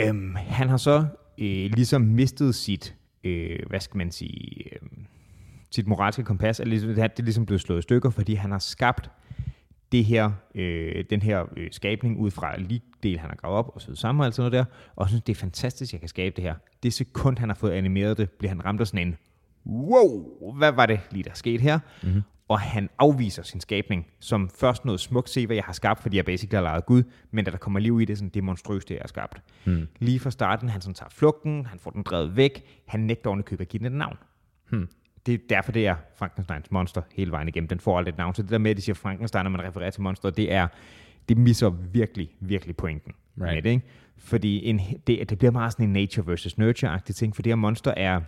Speaker 2: Øhm, han har så øh, ligesom mistet sit, øh, hvad skal man sige, øh, sit moralske kompas, er ligesom, det er ligesom blevet slået i stykker, fordi han har skabt det her, øh, den her øh, skabning ud fra ligdel, han har gravet op og syet sammen og alt sådan noget der, og synes, det er fantastisk, jeg kan skabe det her. Det sekund, han har fået animeret det, bliver han ramt af sådan en, wow, hvad var det lige, der skete her? Mm-hmm. Og han afviser sin skabning, som først noget smukt, se hvad jeg har skabt, fordi jeg basically har lejet Gud, men da der kommer liv i det, er sådan, det er monstrøst, det jeg har skabt. Mm. Lige fra starten, han sådan tager flugten, han får den drevet væk, han nægter oven i købet at give den et navn. Det er derfor, det er Frankensteins monster hele vejen igennem. Den får aldrig et navn. Så det der med, at de siger Frankenstein, når man refererer til monster, det er det misser virkelig, virkelig pointen.
Speaker 1: Right.
Speaker 2: Med det, ikke? Fordi en, det, det bliver meget sådan en nature versus nurture-agtig ting, for det her monster er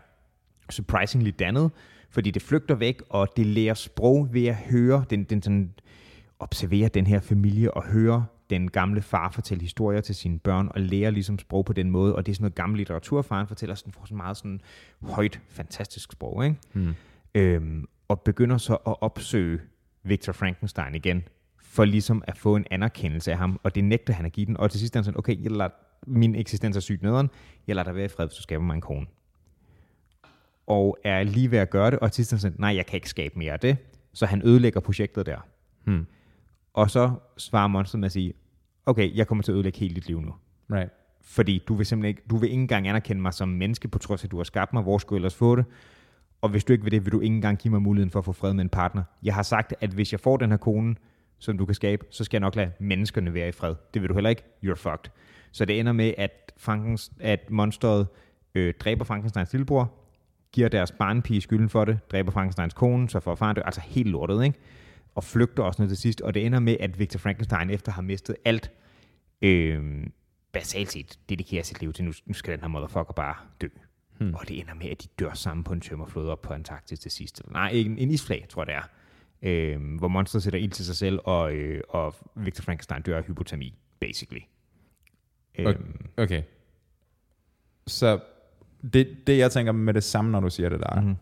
Speaker 2: surprisingly dannet, fordi det flygter væk, og det lærer sprog ved at høre, den, den sådan, observere den her familie og høre den gamle far fortælle historier til sine børn og lære ligesom sprog på den måde, og det er sådan noget gammel litteratur, faren fortæller, så den får sådan meget sådan højt, fantastisk sprog, ikke?
Speaker 1: Hmm.
Speaker 2: Mm. Øhm, og begynder så at opsøge Victor Frankenstein igen, for ligesom at få en anerkendelse af ham, og det nægter han at give den, og til sidst er han sådan, okay, jeg lader, min eksistens er sygt nederen, jeg lader dig være i fred, hvis du skaber mig en kone og er lige ved at gøre det, og til sidst er han sådan, nej, jeg kan ikke skabe mere af det. Så han ødelægger projektet der.
Speaker 1: Hmm.
Speaker 2: Og så svarer monsteret med at sige, okay, jeg kommer til at ødelægge hele dit liv nu.
Speaker 1: Right.
Speaker 2: Fordi du vil simpelthen ikke, du vil ikke engang anerkende mig som menneske, på trods af, at du har skabt mig. Hvor skulle jeg ellers få det? Og hvis du ikke vil det, vil du ikke engang give mig muligheden for at få fred med en partner. Jeg har sagt, at hvis jeg får den her kone, som du kan skabe, så skal jeg nok lade menneskerne være i fred. Det vil du heller ikke. You're fucked. Så det ender med, at, Frankens, at monsteret øh, dræber Frankensteins lillebror, giver deres barnpige skylden for det, dræber Frankensteins kone, så får faren dø, altså helt lortet, ikke? Og flygter også ned til sidst, og det ender med, at Victor Frankenstein efter har mistet alt, øh, basalt set dedikerer sit liv til, nu, nu skal den her motherfucker bare dø. Hmm. Og det ender med, at de dør sammen på en tømmerflåde op på Antarktis til sidst. Nej, ikke en, en isflag, tror jeg det er. Øh, hvor monster sætter ild til sig selv, og, øh, og Victor Frankenstein dør af hypotermi, basically. Øh,
Speaker 1: Okay. okay. Så det, det, jeg tænker med det samme, når du siger det der, mm-hmm.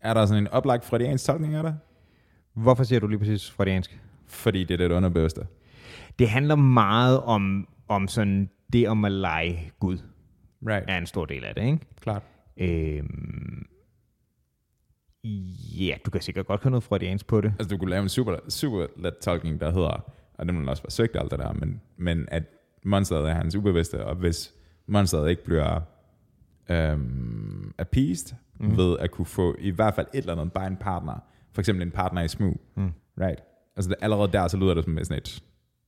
Speaker 1: er der sådan en oplagt freudiansk tolkning af det?
Speaker 2: Hvorfor siger du lige præcis freudiansk?
Speaker 1: Fordi det er det, det underbevidste.
Speaker 2: Det handler meget om, om sådan det om at lege Gud,
Speaker 1: Right,
Speaker 2: er en stor del af det, ikke?
Speaker 1: klart.
Speaker 2: Øhm, ja, du kan sikkert godt have noget freudiansk på det.
Speaker 1: Altså, du kunne lave en super, super let tolkning, der hedder, og det må også være søgt alt det der, men, men at monsteret er hans ubevidste, og hvis monsteret ikke bliver øhm, appeased mm. ved at kunne få i hvert fald et eller andet, bare en partner, for eksempel en partner i smug, mm. right? Altså, det, allerede der, så lyder det som sådan et,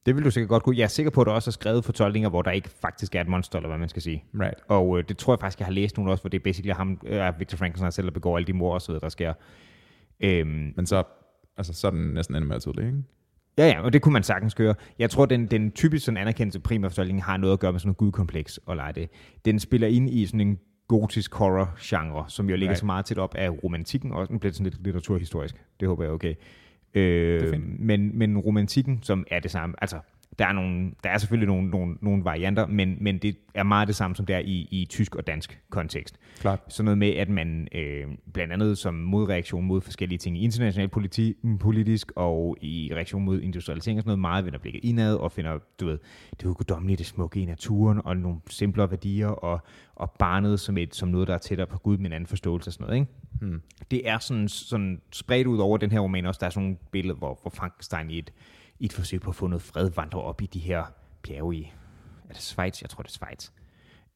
Speaker 2: Det vil du sikkert godt kunne. Jeg er sikker på, at der også er skrevet fortolkninger, hvor der ikke faktisk er et monster, eller hvad man skal sige.
Speaker 1: right?
Speaker 2: Og øh, det tror jeg faktisk, jeg har læst nogle også, hvor det er basically ham, øh, Victor Frankenstein selv, der begår alle de mor og så videre, der sker. Øhm,
Speaker 1: Men så, altså, så er den næsten endnu mere tydelig, ikke?
Speaker 2: ja, ja, og det kunne man sagtens gøre. Jeg tror, den, den typisk sådan anerkendte primærfortolkning har noget at gøre med sådan noget gudkompleks og lege det. Den spiller ind i sådan en gotisk horror-genre, som jo ligger
Speaker 1: Right.
Speaker 2: så meget tæt op af romantikken, og nu bliver det sådan lidt litteraturhistorisk. Det håber jeg er okay. Øh, men, men romantikken, som er det samme, altså der er, nogle, der er selvfølgelig nogle, nogle, nogle varianter, men, men det er meget det samme, som det er i, i tysk og dansk kontekst.
Speaker 1: Klart.
Speaker 2: Sådan noget med, at man øh, blandt andet som modreaktion mod forskellige ting i international politi, politisk og i reaktion mod industrialisering og sådan noget, meget vender blikket indad og finder, du ved, det guddommelige, det smukke i naturen og nogle simplere værdier og, og barnet som, et, som noget, der er tættere på Gud med en anden forståelse og sådan noget, ikke? Hmm. Det er sådan, sådan spredt ud over den her roman også. Der er sådan nogle billeder, hvor, hvor Frankenstein i et, i et forsøg på at få noget fred vandrer op i de her bjerge i, er det Schweiz? Jeg tror, det er Schweiz.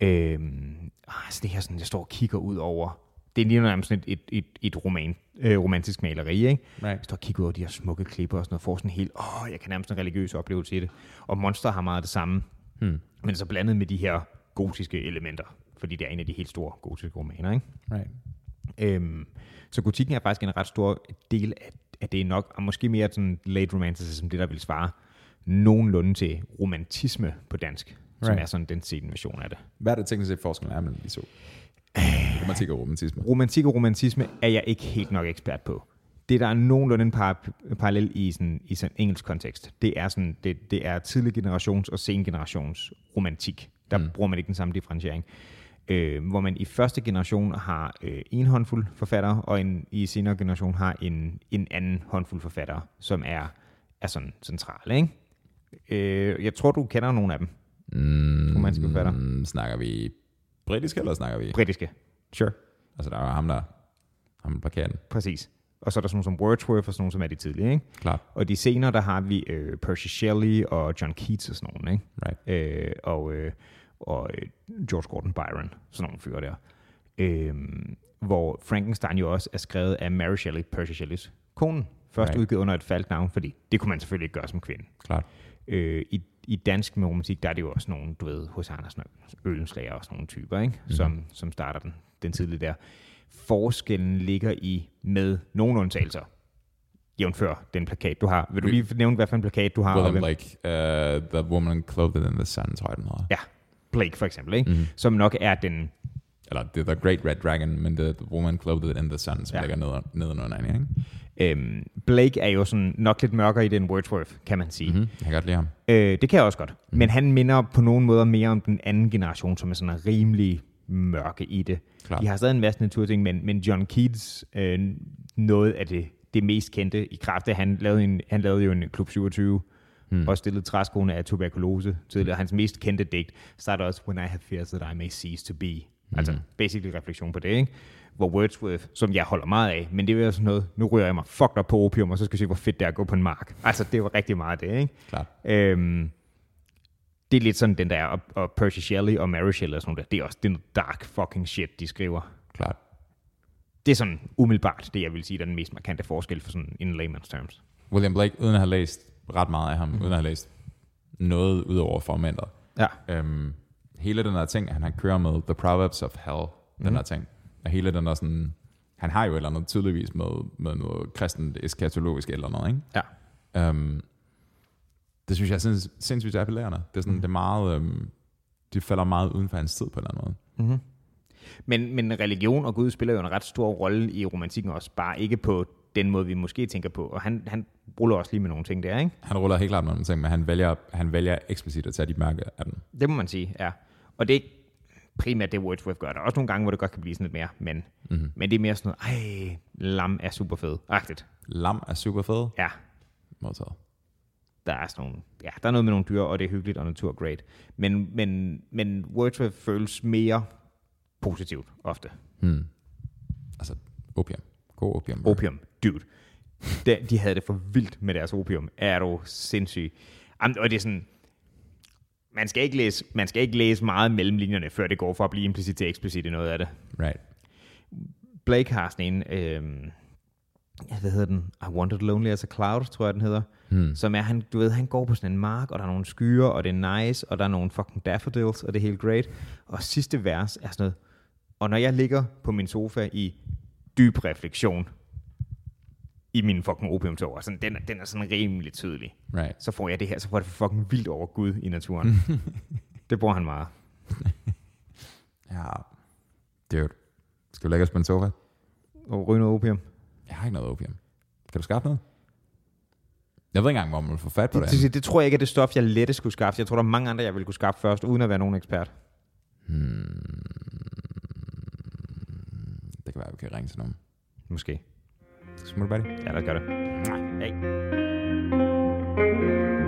Speaker 2: Øhm, ah, altså det her sådan, jeg står og kigger ud over, det er lige nærmest sådan et, et, et, et roman, øh, romantisk maleri, ikke?
Speaker 1: Right.
Speaker 2: Jeg står og kigger ud over de her smukke klipper og sådan noget, får sådan en helt, åh, jeg kan nærmest en religiøs oplevelse i det. Og Monster har meget det samme, hmm. men så blandet med de her gotiske elementer, fordi det er en af de helt store gotiske romaner, ikke?
Speaker 1: Right.
Speaker 2: Øhm, så gotikken er faktisk en ret stor del af, af det nok, og måske mere sådan late romanticism, det der vil svare nogenlunde til romantisme på dansk, right. som
Speaker 1: Right.
Speaker 2: er sådan den scene version af det.
Speaker 1: Hvad er det teknisk set forskellen er mellem de to? Romantik og romantisme.
Speaker 2: Romantik og romantisme er jeg ikke helt nok ekspert på. Det, der er nogenlunde en par, parallel i sådan, i sådan engelsk kontekst, det er, sådan, det, det er tidlig generations og sen generations romantik. Der mm. bruger man ikke den samme differentiering. Øh, hvor man i første generation har øh, en håndfuld forfattere, og en, i senere generation har en, en anden håndfuld forfattere, som er, er sådan centrale. Ikke? Øh, jeg tror, du kender nogle af dem,
Speaker 1: Mm,
Speaker 2: romantiske forfattere.
Speaker 1: Mm, snakker vi britisk, eller snakker vi...
Speaker 2: Britiske,
Speaker 1: Sure. Altså, der er jo ham, der... Ham på katten.
Speaker 2: præcis. Og så er der sådan nogle som Wordsworth og sådan nogle, som er de tidlige. Ikke?
Speaker 1: Klart.
Speaker 2: Og de senere, der har vi øh, Percy Shelley og John Keats og sådan nogle, ikke?
Speaker 1: Right.
Speaker 2: Øh, og øh, og øh, George Gordon Byron, sådan nogle fyre der. Øh, hvor Frankenstein jo også er skrevet af Mary Shelley, Percy Shelleys kone. Først
Speaker 1: Right.
Speaker 2: right. udgivet under et falsk navn, fordi det kunne man selvfølgelig ikke gøre som kvinde.
Speaker 1: Klart.
Speaker 2: Øh, i, I dansk med romantik, der er det jo også nogle, du ved, hos Andersen og Ølenslager og sådan nogle typer, ikke?
Speaker 1: Mhm.
Speaker 2: Mm. Som, som starter den, den tidlige der. Forskellen ligger i, med nogle undtagelser, jævnfør den plakat, du har. Vil du
Speaker 1: Vi-
Speaker 2: lige nævne, hvad for en plakat du har? og
Speaker 1: William
Speaker 2: Ah, hvem-
Speaker 1: Blake, uh, The Woman Clothed in the Sun, tror jeg, den hedder. Mm-hmm.
Speaker 2: Ja, Blake for eksempel, ikke? Mm. Som nok er den,
Speaker 1: Eller det er The Great Red Dragon, men det er The Woman Clothed in the Sun, som
Speaker 2: Ja.
Speaker 1: ja. ligger nede, nedenunder hende, ikke?
Speaker 2: Øhm, Blake er jo sådan nok lidt mørkere i den Wordsworth, kan man sige. Mm-hmm.
Speaker 1: Mm, jeg kan godt lide ham.
Speaker 2: Øh, det kan jeg også godt. Mm. Men han minder på nogen måder mere om den anden generation, som er sådan rimelig mørke i det.
Speaker 1: Klart.
Speaker 2: De har stadig en masse naturting, men, men John Keats, øh, noget af det, det mest kendte i kraft af, han lavede, en, han lavede jo en Klub 27, mm. og stillede træskoene af tuberkulose tidligere. Hans mest kendte digt starter også, When I have fears that I may cease to be. Mm. Altså basically refleksion på det, ikke? Hvor Wordsworth, som jeg holder meget af, men det er jo sådan noget, nu ryger jeg mig fucked op på opium, og så skal jeg se, hvor fedt det er at gå på en mark. Altså, det var rigtig meget det, ikke?
Speaker 1: Klart.
Speaker 2: Øhm, det er lidt sådan den der, og, og Percy Shelley og Mary Shelley og sådan noget der, det er også den dark fucking shit, de skriver.
Speaker 1: Klart.
Speaker 2: Det er sådan umiddelbart, det jeg vil sige, der er den mest markante forskel for sådan in layman's terms.
Speaker 1: William Blake, uden at have læst ret meget af ham,
Speaker 2: Mm-hmm.
Speaker 1: mm. uden at have læst noget ud over fragmenter,
Speaker 2: Ja.
Speaker 1: øhm, hele den her ting, han har kører med The Proverbs of Hell, den her ting, og hele den der sådan, han har jo et eller andet tydeligvis med, med noget kristent eskatologisk eller noget, ikke?
Speaker 2: Ja.
Speaker 1: Øhm, det Det synes jeg er sinds- sindssygt appellerende. Det er, sådan, mm. det er meget, øhm, det falder meget uden for hans tid på en eller anden måde.
Speaker 2: Men, men religion og Gud spiller jo en ret stor rolle i romantikken også, bare ikke på den måde, vi måske tænker på. Og han, han ruller også lige med nogle ting der, ikke?
Speaker 1: Han ruller helt klart med nogle ting, men han vælger, han vælger eksplicit at tage de mørke af den.
Speaker 2: Det må man sige, ja. Og det er ikke primært det, Wordsworth gør. Der er også nogle gange, hvor det godt kan blive sådan lidt mere, men, mm-hmm. men det er mere sådan noget, ej, lam er super fed. Agtigt.
Speaker 1: Lam er super fed.
Speaker 2: Ja,
Speaker 1: Modtaget.
Speaker 2: der er sådan nogle, ja, der er noget med nogle dyr, og det er hyggeligt, og natur er great. Men, men, men Wordsworth føles mere positivt ofte.
Speaker 1: Altså, opium. God opium.
Speaker 2: Opium, dude. De, de havde det for vildt med deres opium. Er du sindssyg? Jamen, og det er sådan, man skal, ikke læse, man skal ikke læse meget mellem linjerne, før det går fra at blive implicit til eksplicit i noget af det.
Speaker 1: Right.
Speaker 2: Blake har sådan en, øh, hvad hedder den? I Wandered Lonely as a Cloud, tror jeg, den hedder. Hmm. Som er, han, du ved, han går på sådan en mark, og der er nogle skyer, og det er nice, og der er nogle fucking daffodils, og det er helt great. Og sidste vers er sådan noget, og når jeg ligger på min sofa i dyb refleksion i min fucking opiumtog, sådan, den, er- den er sådan rimelig tydelig.
Speaker 1: Right.
Speaker 2: Så får jeg det her, så får jeg det fucking vildt over Gud i naturen. det bruger han meget.
Speaker 1: Ja. Dude. Skal vi lægge os på en sofa?
Speaker 2: Og ryge noget opium.
Speaker 1: Jeg har ikke noget opium. Kan du skaffe noget? Jeg ved ikke engang, hvor man vil få fat på det.
Speaker 2: Det, det, det tror jeg ikke er det stof, jeg lettest skulle skaffe. Jeg tror, der er mange andre, jeg ville kunne skaffe først, uden at være nogen ekspert.
Speaker 1: Hmm. Det kan være, vi kan ringe til nogen.
Speaker 2: Måske.
Speaker 1: Så må du bare det.
Speaker 2: Ja, lad os gøre det. Hej.